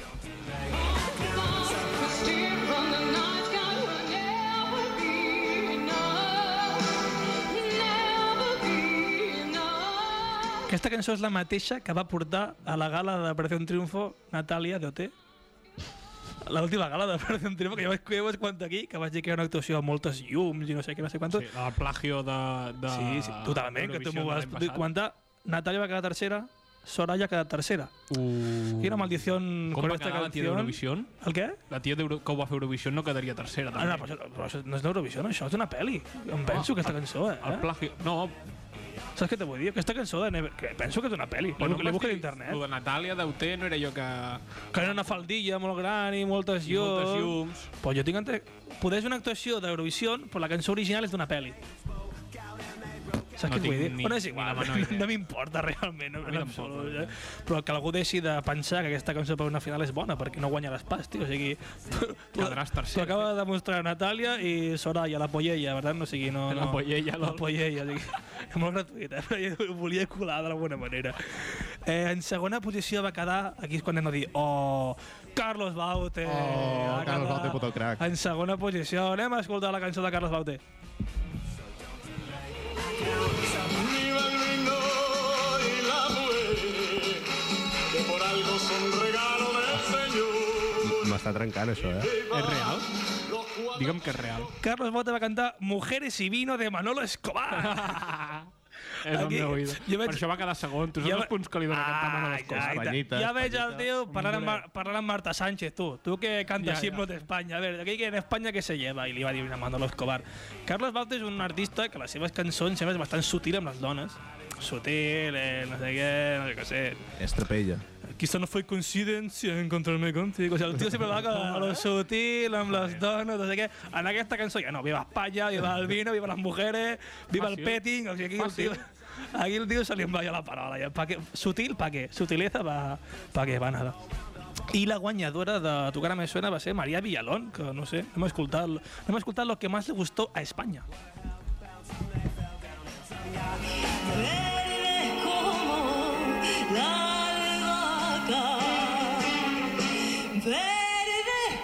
Aquesta cançó és la mateixa que va portar a la gala de Operación Triunfo Natàlia Doté. L'última gala de Operación Triunfo, que jo vaig, jo vaig contar aquí, que vaig dir que era una actuació amb moltes llums i no sé què, no sé quantos.
Sí, el plagio de... de
Sí, sí, totalment, que tu m'ho
Eurovisió de
vas
l'any passat.
comentar. Natàlia va quedar tercera, Soraya ha quedat tercera. Uh. Quina maldició
Com va quedar la tia d'Eurovisió?
El què?
La tia d'Euro- que ho va fer Eurovisió no quedaria tercera,
Ah,
també.
no, però, això, però això no és d'Eurovisió, no, això és d'una pel·li. Em
Ah,
penso, aquesta cançó, eh?
El plagio... No,
Saps què te vull dir? Aquesta cançó de Never... Que penso que és d'una pel·li. Bueno, la busca a internet.
El de Natàlia Deuter no era jo que...
Que era una faldilla molt gran i moltes
I
llums.
moltes llums.
Però jo tinc entre... Poder és una actuació d'Eurovisió, però la cançó original és d'una pel·li. Saps
No
què et vull
tinc
dir?
ni-
Bueno, és
ni
igual,
la menor idea.
no m'importa realment, no,
mi
en
tampoc,
absolut. Eh? Però que algú deixi de pensar que aquesta cançó per una final és bona, perquè no guanyaràs pas, tio. O sigui, tu,
Quedaràs tercer,
T'ho acaba de demostrar Natàlia i Soraya, la pollella, per tant, no, o sigui, no...
La
no,
pollella,
la
lol.
pollella, o sigui, és molt gratuït, eh? però jo ho volia colar d'alguna manera. Eh, en segona posició va quedar, aquí és quan anem a dir, oh, Carlos Baute.
Oh,
va
Carlos
quedar
Baute, puto crac.
En segona posició, anem a escoltar la cançó de Carlos Baute.
Viva el lindo y la mujer, que por algo son regalo del Señor.
M'està trencant, això, eh?
És real?
Los cuatro
Digue'm que és real.
Carlos Baute va cantar Mujeres y Vino de Manolo Escobar.
És el
Aquí-
meu oïda.
jo
Jo
vaig-
Per això va quedar segon. Tu saps
Jo va-
els Doncs punts que li dona cantar Manolo Escobar?
Ah, ja,
Espanyita,
ja veig el tio parlant amb, Mar-
Hombre.
parlant amb Marta Sánchez, tu. Tu que cantes
Ja, ja.
himnos d'Espanya. A veure, aquí que en Espanya què se lleva? I li va dir a Manolo Escobar. Carlos Baute és un artista que les seves cançons sempre és bastant sutil amb les dones. Sutil, eh, no sé què, no sé què sé.
Estrapella.
Quizá no fue coincidencia encontrarme contigo. O sigui, el tio sempre va a lo sutil, amb les dones, no sé què. En aquesta cançó ja no, viva Espanya, viva el vino, viva les mujeres, viva el
Fàcil.
petting. O sigui, aquí, el tio, aquí el tio se li envia la paraula. Ja. Pa què? Sutil, pa què? Sutileza, pa, pa què? Va nada. I la guanyadora de Tu cara me suena va ser María Villalón, que no sé, no m'ha escoltat, no m'ha escoltat lo que más le gustó a España.
Verdes como la albahaca, verdes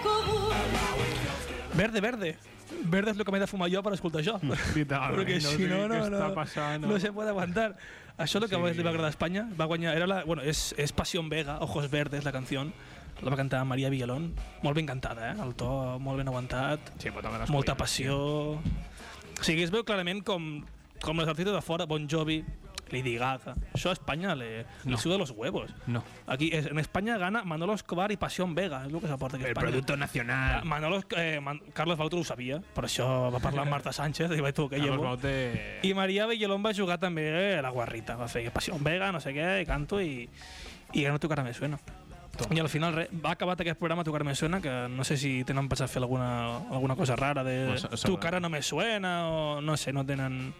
como
Verde, verde. Verde és el que m'he de fumar jo per escoltar això.
Mm. Literalment,
Perquè
no
si
sé
no,
què
no, no,
està passant,
no,
no.
se pot aguantar. Això és el que més li va agradar a Espanya. Va guanyar... Era la, bueno, és, és Pasión Vega, Ojos Verdes, la canció. La va cantar Maria Villalón. Molt ben cantada, eh? El to molt ben aguantat.
Sí, però també
Molta passió. O sigui, es veu clarament com, com les artistes de fora, Bon Jovi, Lady Gaga. Això a Espanya le, no.
No.
li suda los huevos.
No.
Aquí, es- en Espanya gana Manolo Escobar i Pasión Vega. És el que s'aporta
Eh,
aquí a Espanya.
nacional.
Manolo, eh, Man Carlos Baute ho sabia, per això va parlar amb Marta Sánchez i va dir tu, que
Carlos
llevo.
Baute...
I Maria Villalón va jugar també eh, a la guarrita, va fer Passió Vega, no sé què, i canto i, i ja no tocarà més suena. I al final res, va acabat aquest programa Tocar me suena, que no sé si tenen pensat fer alguna, alguna cosa rara de
Bueno, se-
tu cara no me suena o no sé, no tenen...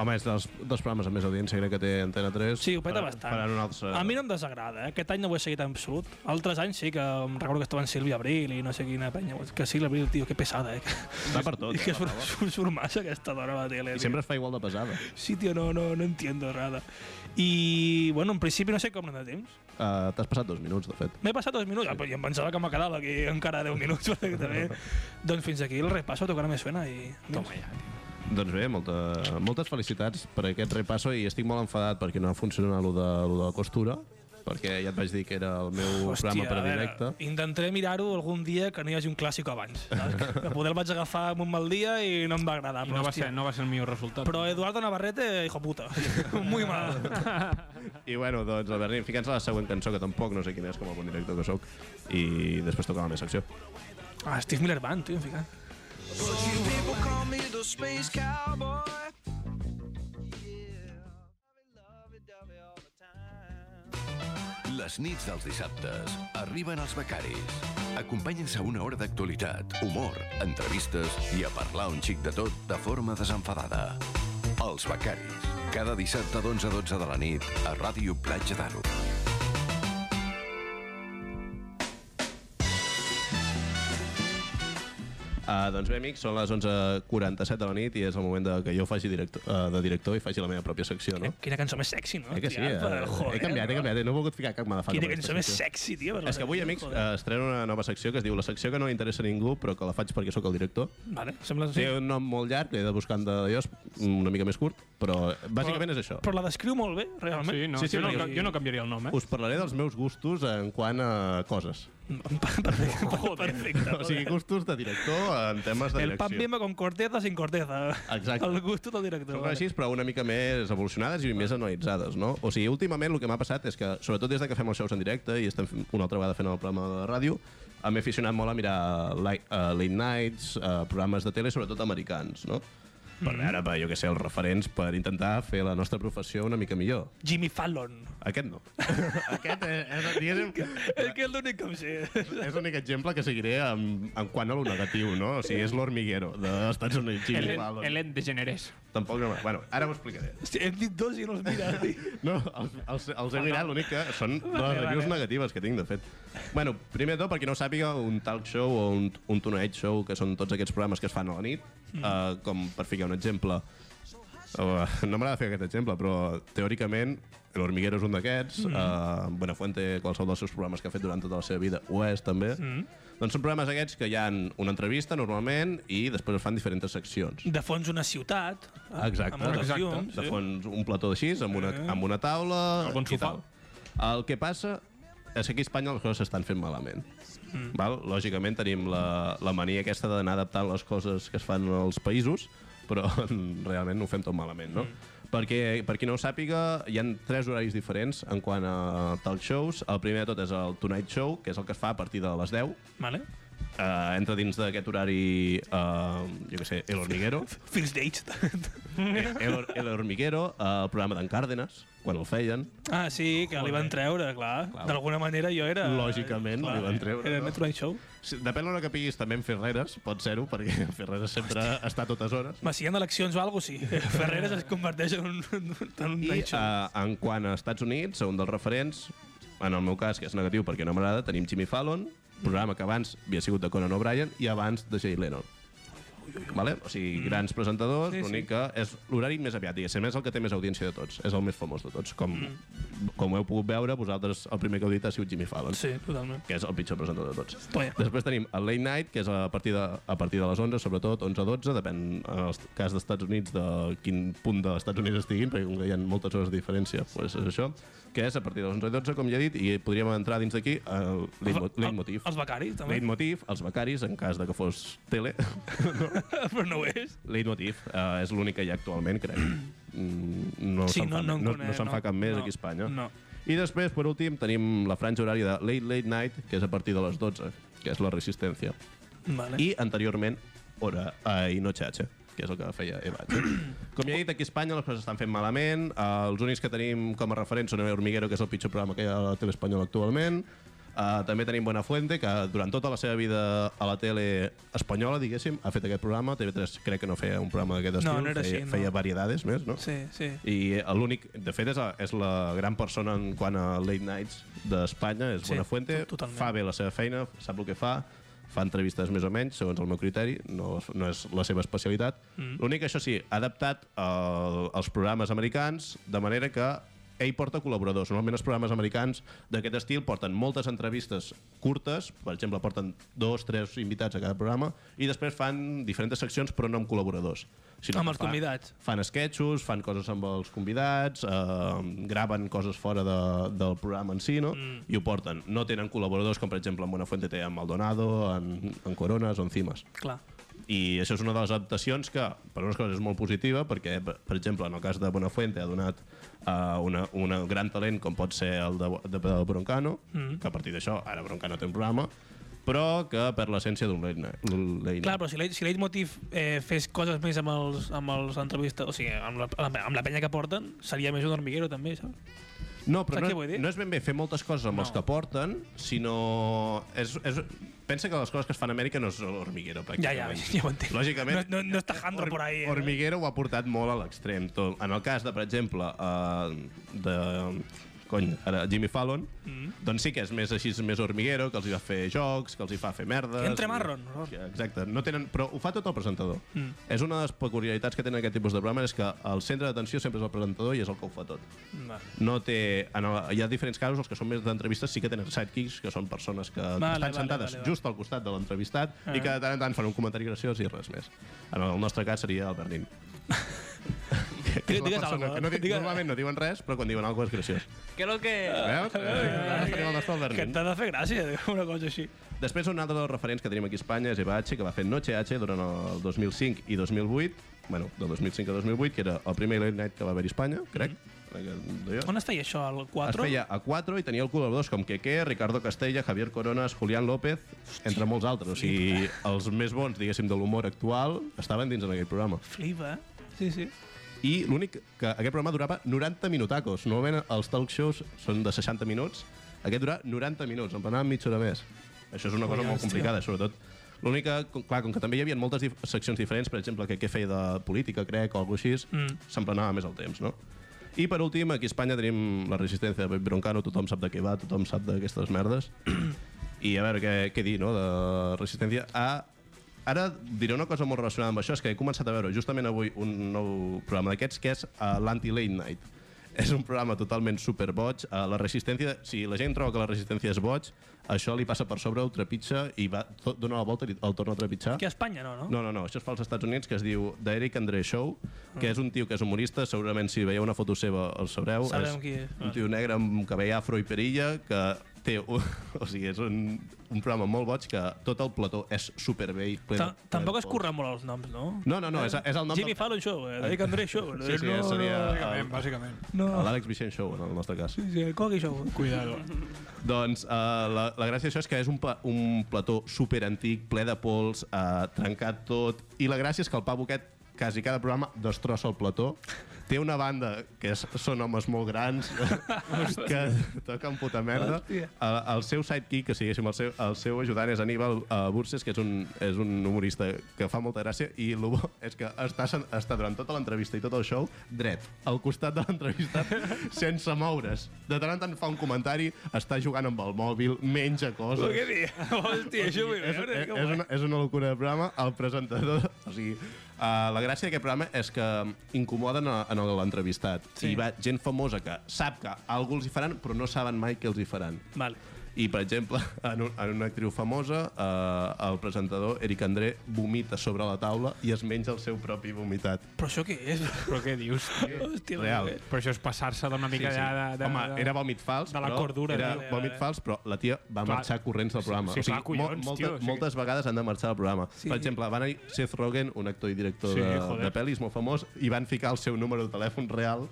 Home, és dels dos programes amb més audiència crec que té Antena 3.
Sí, ho peta
Per-
bastant.
Per un altre...
A mi no em desagrada, eh? aquest any no ho he seguit en absolut. Altres anys sí, que em recordo que estava en Sílvia Abril i no sé quina penya. Que Sílvia Abril, tio, que pesada, eh?
Va per tot,
I que
eh, la
surt,
brava.
surt, surt massa aquesta dona a la tele.
I
tio.
sempre es fa igual de pesada.
Sí, tío, no, no, no entiendo nada. Y bueno, en principio no sé com anem de temps.
Uh, T'has passat dos minuts, de fet.
M'he passat dos minuts, ah, però jo em pensava que me quedava aquí encara 10 minuts. perquè també... doncs fins aquí el repasso, tocar me suena i... Toma ja.
Doncs bé, molta, moltes felicitats per aquest repasso i estic molt enfadat perquè no ha funcionat allò de, allò de la costura, perquè ja et vaig dir que era el meu programa per a directe.
intentaré mirar-ho algun dia que no hi hagi un clàssic abans. Saps? Que poder el vaig agafar amb un mal dia i no em va agradar.
I
Però,
no va,
hòstia,
ser, no va ser el millor resultat.
però Eduardo Navarrete, hijo puta. Muy mal.
I bueno, doncs, Albert, anem ficant-se a la següent cançó, que tampoc no sé quina és com a bon director que sóc, i després toca la meva secció.
Ah, Steve Miller Band, tio, fica.
People call me the space cowboy.
Les nits dels dissabtes arriben els becaris. Acompanyen-se a una hora d'actualitat, humor, entrevistes i a parlar un xic de tot de forma desenfadada. Els becaris. Cada dissabte d'11 a 12 de la nit a Ràdio Platja d'Aro.
Uh, doncs bé, amics, són les 11.47 de la nit i és el moment de que jo faci director, uh, de director i faci la meva pròpia secció, no?
Quina cançó més sexy, no?
Eh que sí,
Tio,
eh?
però,
he
joder,
canviat, he
no?
canviat, eh? no he volgut ficar cap madafaca.
Quina
per aquesta
cançó més
secció.
sexy, tio. per la
És que avui,
ràdio,
amics,
joder.
eh, estreno una nova secció que es diu La secció que no li interessa a ningú, però que la faig perquè sóc el director.
Vale, sembla
Té
sí.
un nom molt llarg, l'he de buscar en de Dios, una mica més curt, però bàsicament és això.
Però la descriu molt bé, realment.
Sí, no,
Sí, sí,
sí, sí, jo, no,
perquè-
ca- jo no canviaria el nom, eh?
Us parlaré dels meus gustos en quant a coses.
Perfecte, perfecte.
O sigui, gustos de director en temes de
El pan
direcció.
bimba con corteza sin corteza.
Exacte.
El gusto del director.
Són
vale.
així, però una mica més evolucionades i més analitzades, no? O sigui, últimament el que m'ha passat és que, sobretot des de que fem els shows en directe i estem fent- una altra vegada fent el programa de ràdio, m'he eh, aficionat molt a mirar late, uh, late nights, uh, programes de tele, sobretot americans, no?
per veure, per, jo què sé, els referents per intentar fer la nostra professió una mica millor.
Jimmy Fallon.
Aquest no. Aquest és, és, diguéssim,
És que és l'únic que em sé.
és l'únic exemple que seguiré en, en quant a lo negatiu, no? O sigui, és l'hormiguero dels Estats Units. Jimmy
Ellen,
Fallon.
Ellen DeGeneres.
Tampoc no... m'ha- Bueno, ara ho explicaré.
Hòstia, hem dit dos i no els mira. tio.
No, els, els, els he mirat, l'únic que són de les reviews negatives que tinc, de fet. Bueno, primer de tot, per qui no ho sàpiga, un talk show o un, un toneig show, que són tots aquests programes que es fan a la nit,
Hmm.
eh, com per ficar un exemple, eh, no m'agrada fer aquest exemple, però teòricament l'Hormiguero és un d'aquests,
Hmm.
eh, Buenafuente, qualsevol dels seus programes que ha fet durant tota la seva vida ho és també.
Mm.
Doncs són programes aquests que hi ha una entrevista normalment i després es fan diferents seccions.
De fons una ciutat, eh,
Exacte.
amb moltes
Exacte.
llums.
de fons un plató així, amb una, amb una taula...
Algun
i
sofà.
tal. El que passa és que aquí a Espanya les coses s'estan fent malament. Mm. Val? Lògicament tenim la, la mania aquesta d'anar adaptant les coses que es fan als països, però realment ho fem tot malament, no? Mm. Perquè, per qui no ho sàpiga, hi han tres horaris diferents en quant a talk shows. El primer de tot és el Tonight Show, que és el que es fa a partir de les 10.
Vale?
Uh, entra dins d'aquest horari, uh, jo què sé, El Hormiguero.
First dates.
El, el Hormiguero, eh, el programa d'en Cárdenas, quan el feien,
ah, sí, que li van treure, clar. D'alguna manera jo era...
Lògicament, li van treure,
Era
no?
Metro Night Show.
Si- depèn de l'hora que piguis també en Ferreres, pot ser-ho, perquè en Ferreres sempre està a totes hores.
Ma, si hi ha eleccions o alguna cosa, sí. Ferreres es converteix en un, en un, en un
I
night
eh,
show.
en quant a Estats Units, un dels referents, en el meu cas, que és negatiu perquè no m'agrada, tenim Jimmy Fallon, programa que abans havia sigut de Conan O'Brien i abans de Jay Leno. Vale? O sigui, grans presentadors,
Sí,
Mm. sí,
sí.
l'únic que és l'horari més aviat, diguéssim, és el que té més audiència de tots, és el més famós de tots. Com, com heu pogut veure, vosaltres el primer que heu dit ha sigut Jimmy Fallon.
Sí, totalment.
que és el pitjor presentador de tots.
Vaja.
Després tenim el Late Night, que és a partir de, a partir de les 11, sobretot 11-12, depèn en el cas dels Estats Units de quin punt dels Estats Units estiguin, perquè com que hi ha moltes hores de diferència, doncs és això, que és a partir de les 11 i 12, com ja he dit, i podríem entrar dins d'aquí el leitmo- leitmotiv.
Els becaris, també.
Leitmotiv, els becaris, en cas de que fos tele,
Però no ho és.
leitmotiv eh, és l'únic que hi ha actualment, crec. Mm, no
Sí,
se'n
no-
fa,
no en
no,
conec,
no se'n
no.
fa cap més
No,
aquí a Espanya.
no.
I després, per últim, tenim la franja horària de Late Late Night, que és a partir de les 12, que és la resistència.
Vale.
I anteriorment, hora eh, i noche H, que és el que feia Eva. com ja he dit, aquí a Espanya les coses estan fent malament. Eh, els únics que tenim com a referents són El Hormiguero, que és el pitjor programa que hi ha a la tele espanyola actualment. Uh, també tenim Buenafuente, que durant tota la seva vida a la tele espanyola, diguéssim, ha fet aquest programa. TV3 crec que no feia un programa d'aquest
No,
estil,
no era
feia,
així, no.
feia variedades més, no?
Sí, sí.
I l'únic, de fet, és la, és la gran persona en quant a late nights d'Espanya, és
Sí,
sí, Buenafuente,
to- totalment.
fa bé la seva feina, sap el que fa, fa entrevistes més o menys, segons el meu criteri, no, no és la seva especialitat. Mm. L'únic, això sí, ha adaptat el, els programes americans de manera que ell porta col·laboradors. Normalment els programes americans d'aquest estil porten moltes entrevistes curtes, per exemple, porten dos, tres invitats a cada programa, i després fan diferents seccions, però no amb col·laboradors. Sinó
Amb
que
els
fa-
convidats.
fan sketchos, fan coses amb els convidats, eh, graven coses fora de, del programa en si, no? Mm. I ho porten. No tenen col·laboradors com, per exemple, en Buenafuente té en Maldonado, en, en Coronas o en Cimas.
Clar.
I això és una de les adaptacions que, per unes coses, és molt positiva, perquè, per per exemple, en el cas de Buenafuente ha donat eh, una, una gran talent com pot ser el de, de, de Broncano, mm. que a partir d'això, ara Broncano té un programa, però que per l'essència d'un late night. late
Clar,
night.
però si Leit- si Leitmotiv eh, fes coses més amb els, amb els entrevistes, o sigui, amb la, amb la penya que porten, seria més un hormiguero també, saps?
No, però
Saps què vull
no,
dir?
no és ben bé fer moltes coses amb no. els que porten, sinó... És, és, pensa que les coses que es fan a Amèrica no és hormiguero,
Ja, ja,
pràcticament.
ja ho entenc.
Lògicament,
No, no, no està jandro por ahí. Eh?
Hormiguero ho ha portat molt a l'extrem. tot. En el cas de, per exemple, uh, de cony, ara, Jimmy Fallon, mm. doncs sí que és més així, més hormiguero, que els hi va fer jocs, que els hi fa fer merdes...
Entre
i-
marron, no?
Exacte, no tenen, però ho fa tot el presentador. Mm. És una de les peculiaritats que tenen aquest tipus de programa, és que el centre d'atenció sempre és el presentador i és el que ho fa tot
Vale.
no té... En el, hi ha diferents casos, els que són més d'entrevistes sí que tenen sidekicks, que són persones que vale, estan
vale,
vale, sentades
vale,
vale,
vale.
vale. just al costat de l'entrevistat ah. i que de tant en tant fan un comentari graciós i res més. En el nostre cas seria el Bernin. que, que és la
Digues
persona
algo,
que no, di-
digues-
normalment no diuen res, però quan diuen alguna cosa és graciós.
Que lo que...
Veus? Ara tenim el nostre
Que
Albernin.
t'ha de fer gràcia, una cosa així.
Després, un altre dels referents que tenim aquí a Espanya és Eva H, que va fer Noche H durant el 2005 i 2008, bueno, del 2005 al 2008, que era el primer Late Night que va haver a Espanya, crec. Mm -hmm.
On es feia això, al 4?
Es feia a 4 i tenia el col·laboradors com Queque, Ricardo Castella, Javier Coronas, Julián López, entre molts altres. O sigui, els més bons, diguéssim, de l'humor actual estaven dins en aquell programa.
Flipa, eh? Sí, sí.
I l'únic que aquest programa durava 90 minutacos. Normalment els talk shows són de 60 minuts. Aquest dura 90 minuts, en anava mitja hora més. Això és una cosa molt complicada, sobretot. L'únic que, com- clar, com que també hi havia moltes dif seccions diferents, per exemple, que què feia de política, crec, o alguna cosa així, mm. s'emplenava més el temps, no? I per últim, aquí a Espanya tenim la resistència de Pep Broncano, tothom sap de què va, tothom sap d'aquestes merdes. I a veure què, què dir, no?, de resistència a... Ara diré una cosa molt relacionada amb això, és que he començat a veure justament avui un nou programa d'aquests, que és uh, l'Anti-Late Night. És un programa totalment superboig. Uh, la resistència, si la gent troba que la resistència és boig, això li passa per sobre, ho trepitja i va, to- dona la volta i el torna a trepitjar.
Aquí a Espanya no, no?
No, no, no, això es fa als Estats Units, que es diu The Eric Andre Show, que és un tio que és humorista, segurament si veieu una foto seva el sabreu.
Sabrem qui és.
Un tio negre amb cabell afro i perilla, que té... Un, o sigui, és un, un programa molt boig que tot el plató és supervell. ple de-
Ta- Tampoc
ple de
es
pols.
curren molt els noms, no?
No, no, no, és, és el nom...
Jimmy
del-
Fallon Show, eh? Dick André Show.
Sí, sí,
no,
seria
Bàsicament,
el-
bàsicament.
No, no.
l'Àlex Vicent Show, en el nostre cas.
Sí, el Cogui Show.
Cuidado.
Doncs uh, la, la gràcia d'això és que és un, pla, un plató superantic, ple de pols, uh, trencat tot, i la gràcia és que el Pa Boquet quasi cada programa destrossa el plató. Té una banda que és, són homes molt grans que toquen puta merda.
Hòstia.
El, el seu sidekick, que siguéssim el seu, el seu ajudant, és Aníbal uh, Burses, que és un, és un humorista que fa molta gràcia, i el bo és que està, sen- està durant tota l'entrevista i tot el show dret, al costat de l'entrevistat, sense moure's. De tant en tant fa un comentari, està jugant amb el mòbil, menja coses.
Què dius? Hòstia, això vull
És,
veure.
és,
que
és, una, és una locura de programa. El presentador... O sigui, uh, la gràcia d'aquest programa és que incomoden a, en el- l'entrevistat.
Sí.
Sí. I va gent famosa que sap que algú els hi faran, però no saben mai què els hi faran.
guai. Vale.
I, per exemple, en, un, en una actriu famosa, eh, el presentador Eric André vomita sobre la taula i es menja el seu propi vomitat.
Però això què és?
Però què dius, tio?
Hòstia,
Real.
Déu meu.
Però això és passar-se d'una mica ja de, de...
Home,
de-
era vòmit fals,
de la
però
cordura,
era
vale,
vòmit
vale.
fals, però la tia va
Clar.
marxar corrents del programa.
sí, clar, collons,
moltes,
tio, o sigui-
moltes vegades han de marxar del programa.
Sí.
Per exemple, van anar Seth Rogen, un actor i director
Sí,
de,
joder.
de pel·lis molt famós, i van ficar el seu número de telèfon real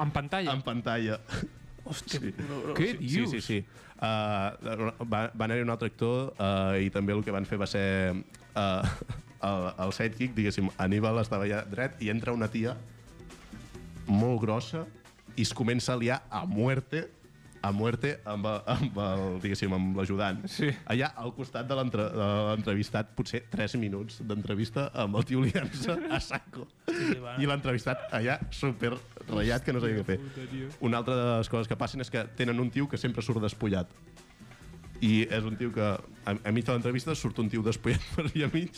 En pantalla?
en pantalla.
Hòstia,
Sí.
Què
Sí,
dius?
sí, sí. Uh, va, va anar-hi un altre actor uh, i també el que van fer va ser uh, el, el sidekick, diguéssim, Aníbal estava allà dret i entra una tia molt grossa i es comença a liar a muerte a muerte amb, el- amb el, diguéssim, amb l'ajudant.
Sí.
Allà al costat de l'entre- de l'entrevistat, potser 3 minuts d'entrevista amb el tio liant-se a saco.
sí, va.
I l'entrevistat allà super ratllat que no sabia què fer. Una altra de les coses que passen és que tenen un tio que sempre surt despullat. I és un tio que a, a mig de l'entrevista surt un tio despullat per allà mig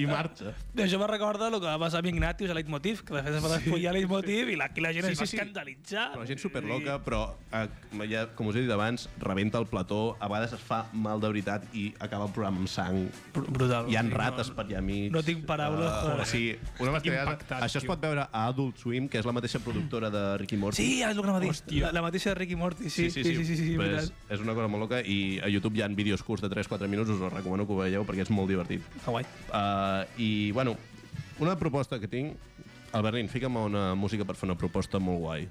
i marxa.
Això me recorda el que va passar amb Ignatius a Leitmotiv, que de fet es va despullar Leitmotiv i la- aquí la gent
Sí,
es va
sí, sí.
escandalitzar.
Però gent superloca, però eh, ja, com us he dit abans, rebenta el plató, a vegades es fa mal de veritat i acaba el programa amb sang.
Br- Brutal.
Hi ha
O sigui, no-
rates per allà mig.
no tinc paraules,
Uh,
joder.
sí, una bestiada.
impactat,
Això es
tio.
pot veure a Adult Swim, que és la mateixa productora de Ricky Morty.
Sí, és el que anava a dir.
Hòstia.
La, la mateixa de Ricky Morty, sí. Sí, sí, sí. sí, sí,
però
veritat.
és, és una cosa molt loca i a YouTube hi ha vídeos curts de 3-4 minuts, us els recomano que ho veieu perquè és molt divertit.
Que guai.
Uh, I, bueno, una proposta que tinc... El Berlín, fica'm una música per fer una proposta molt guai.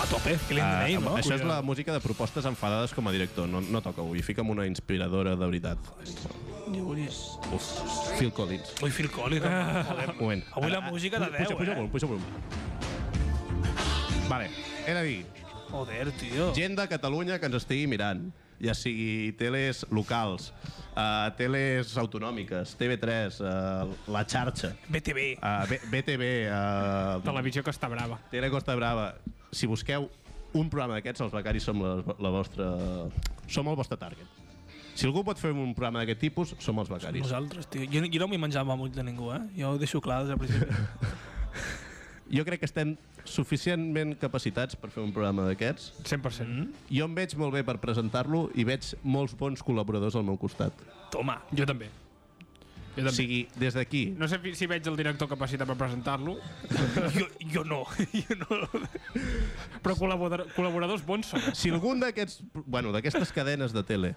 A tope, que l'hem
Ah,
de
amb-
no?
Això és la música de propostes enfadades com a director. No, no toca avui. Fica'm una inspiradora de veritat.
Jo volia-
Uf, Phil Collins.
Ui, Phil Collins, home, joder.
Un moment.
Avui la música de
Puja,
10,
puja,
eh?
volum, puja volum. Vale, he de dir,
Joder, tio.
gent de Catalunya que ens estigui mirant, ja sigui teles locals, uh, teles autonòmiques, TV3, uh, La Xarxa,
BTV.
uh, B BTV, uh,
Televisió que està brava.
Tele Costa Brava. Eh, Si busqueu un programa d'aquests, els becaris som la, la vostra... Som el vostre target. Si algú pot fer un programa d'aquest tipus, som els becaris.
Nosaltres, tio. Jo, jo no m'hi menjava molt de ningú, eh? Jo ho deixo clar des del principi.
Jo crec que estem suficientment capacitats per fer un programa d'aquests.
100%. Mm -hmm.
Jo em veig molt bé per presentar-lo i veig molts bons col·laboradors al meu costat.
Toma.
Jo també. Jo
O
també.
sigui, des d'aquí,
No sé fi- si veig el director capacitat per presentar-lo,
Jo, jo no. Jo no.
però col·laborador, col·laboradors bons són.
si algun d'aquests... Bueno, d'aquestes cadenes de tele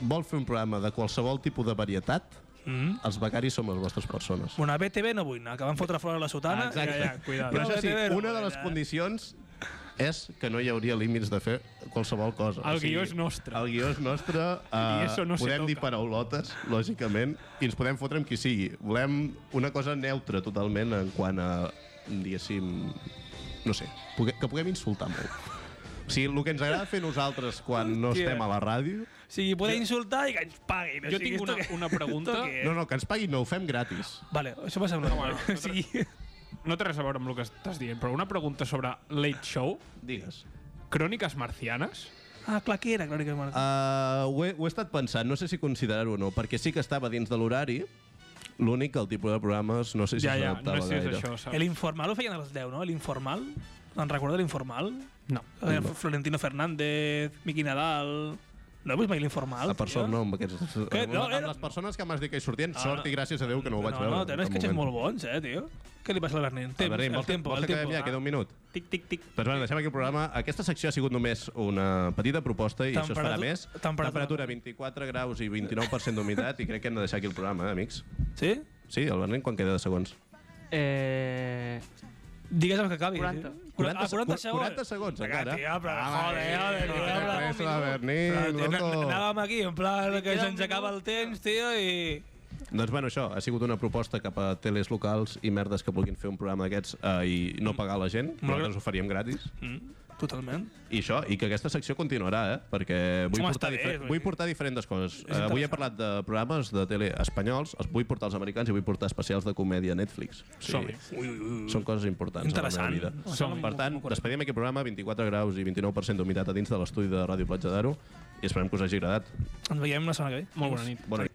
vol fer un programa de qualsevol tipus de varietat, mm. els becaris som les vostres persones.
Bueno, a BTV no vull anar, que van fotre fora la sotana.
Ah, exacte.
Ja, ja,
Cuidado.
Però
No,
això sí,
BTV no
una de
vull
les
anar.
condicions
és que no hi hauria límits de fer qualsevol cosa.
El guió és nostre.
El guió és nostre. Uh,
I eso no se
podem dir
toca.
paraulotes, lògicament, i ens podem fotre amb qui sigui. Volem una cosa neutra totalment en quant a, diguéssim, no sé, pugue- que puguem insultar molt. O sigui, el que ens agrada fer nosaltres quan no
Hòstia.
estem a la ràdio...
O sigui, poder insultar i que ens paguin.
Jo
o sigui,
tinc
esto
una-
que-
una pregunta.
esto que-
No, no, que ens paguin no, ho fem gratis.
Vale, això passa amb normal.
bueno,
o sigui,
No té res a veure amb el que estàs dient, però una pregunta sobre Late Show,
Digues.
Cròniques Marcianes,
ah, clar, que era, crònica de Marc.
Ah,
Uh, ho, he, ho he estat pensant, no sé si considerar-ho o no, perquè sí que estava dins de l'horari, l'únic que el tipus de programes no sé si
ja, ja,
s'adaptava
no sé si és
gaire.
això, saps?
L'informal ho feien a les 10, no? L'informal. Te'n recordes de l'informal?
No.
Eh, Florentino Fernández, Miqui Nadal... No he vist mai l'informal.
A per
tio.
sort no, amb, aquests,
Què?
amb,
No,
amb
era-
les persones que m'has dit que hi sortien,
Ah,
sort i gràcies a Déu que no ho vaig
no,
veure.
No, té
en
uns
cap
sketches
moment.
molt bons, eh, tio. Què li passa al Bernin?
A veure, vols,
el Ah. tempo,
vols
el
que quedem
tempo.
ja? Queda un minut.
Tic, tic, tic.
Doncs bueno, deixem aquí el programa. Aquesta secció ha sigut només una petita proposta i això es farà
Temperatu-
més.
temperatura.
Temperatura 24 graus i 29% d'humitat i crec que hem de deixar aquí el programa, eh, amics?
Sí?
Sí, el Bernin quan queda de segons?
Eh...
Digues el que acabi.
40.
Sí? 40, ah, 40 segons. Ah,
40 segons,
Vinga,
encara.
Tio, però, joder, joder, tio, però-
Eso, Bernin,
Però, tio,
loco.
Anàvem aquí, en plan, que
queda un
se'ns acaba el
minut.
temps, tio, i...
Doncs bueno, això, ha sigut una proposta cap a teles locals i merdes que vulguin fer un programa d'aquests eh, i no pagar la gent, nosaltres ho faríem gratis.
Mm, totalment.
I això, i que aquesta secció continuarà, eh? Perquè vull,
Home,
portar,
està bé,
difer
vull
vull
dir.
portar diferents coses. Eh, avui he parlat de programes de tele espanyols, els vull portar als americans i vull portar especials de comèdia a Netflix. O sigui, Són coses importants a
Interessant.
la meva vida.
Som-hi.
per tant, despedim aquest programa, 24 graus i 29% d'humitat a dins de l'estudi de Ràdio Platja d'Aro i esperem que us hagi agradat.
Ens veiem la setmana que ve.
Molt bona nit.
Bona nit.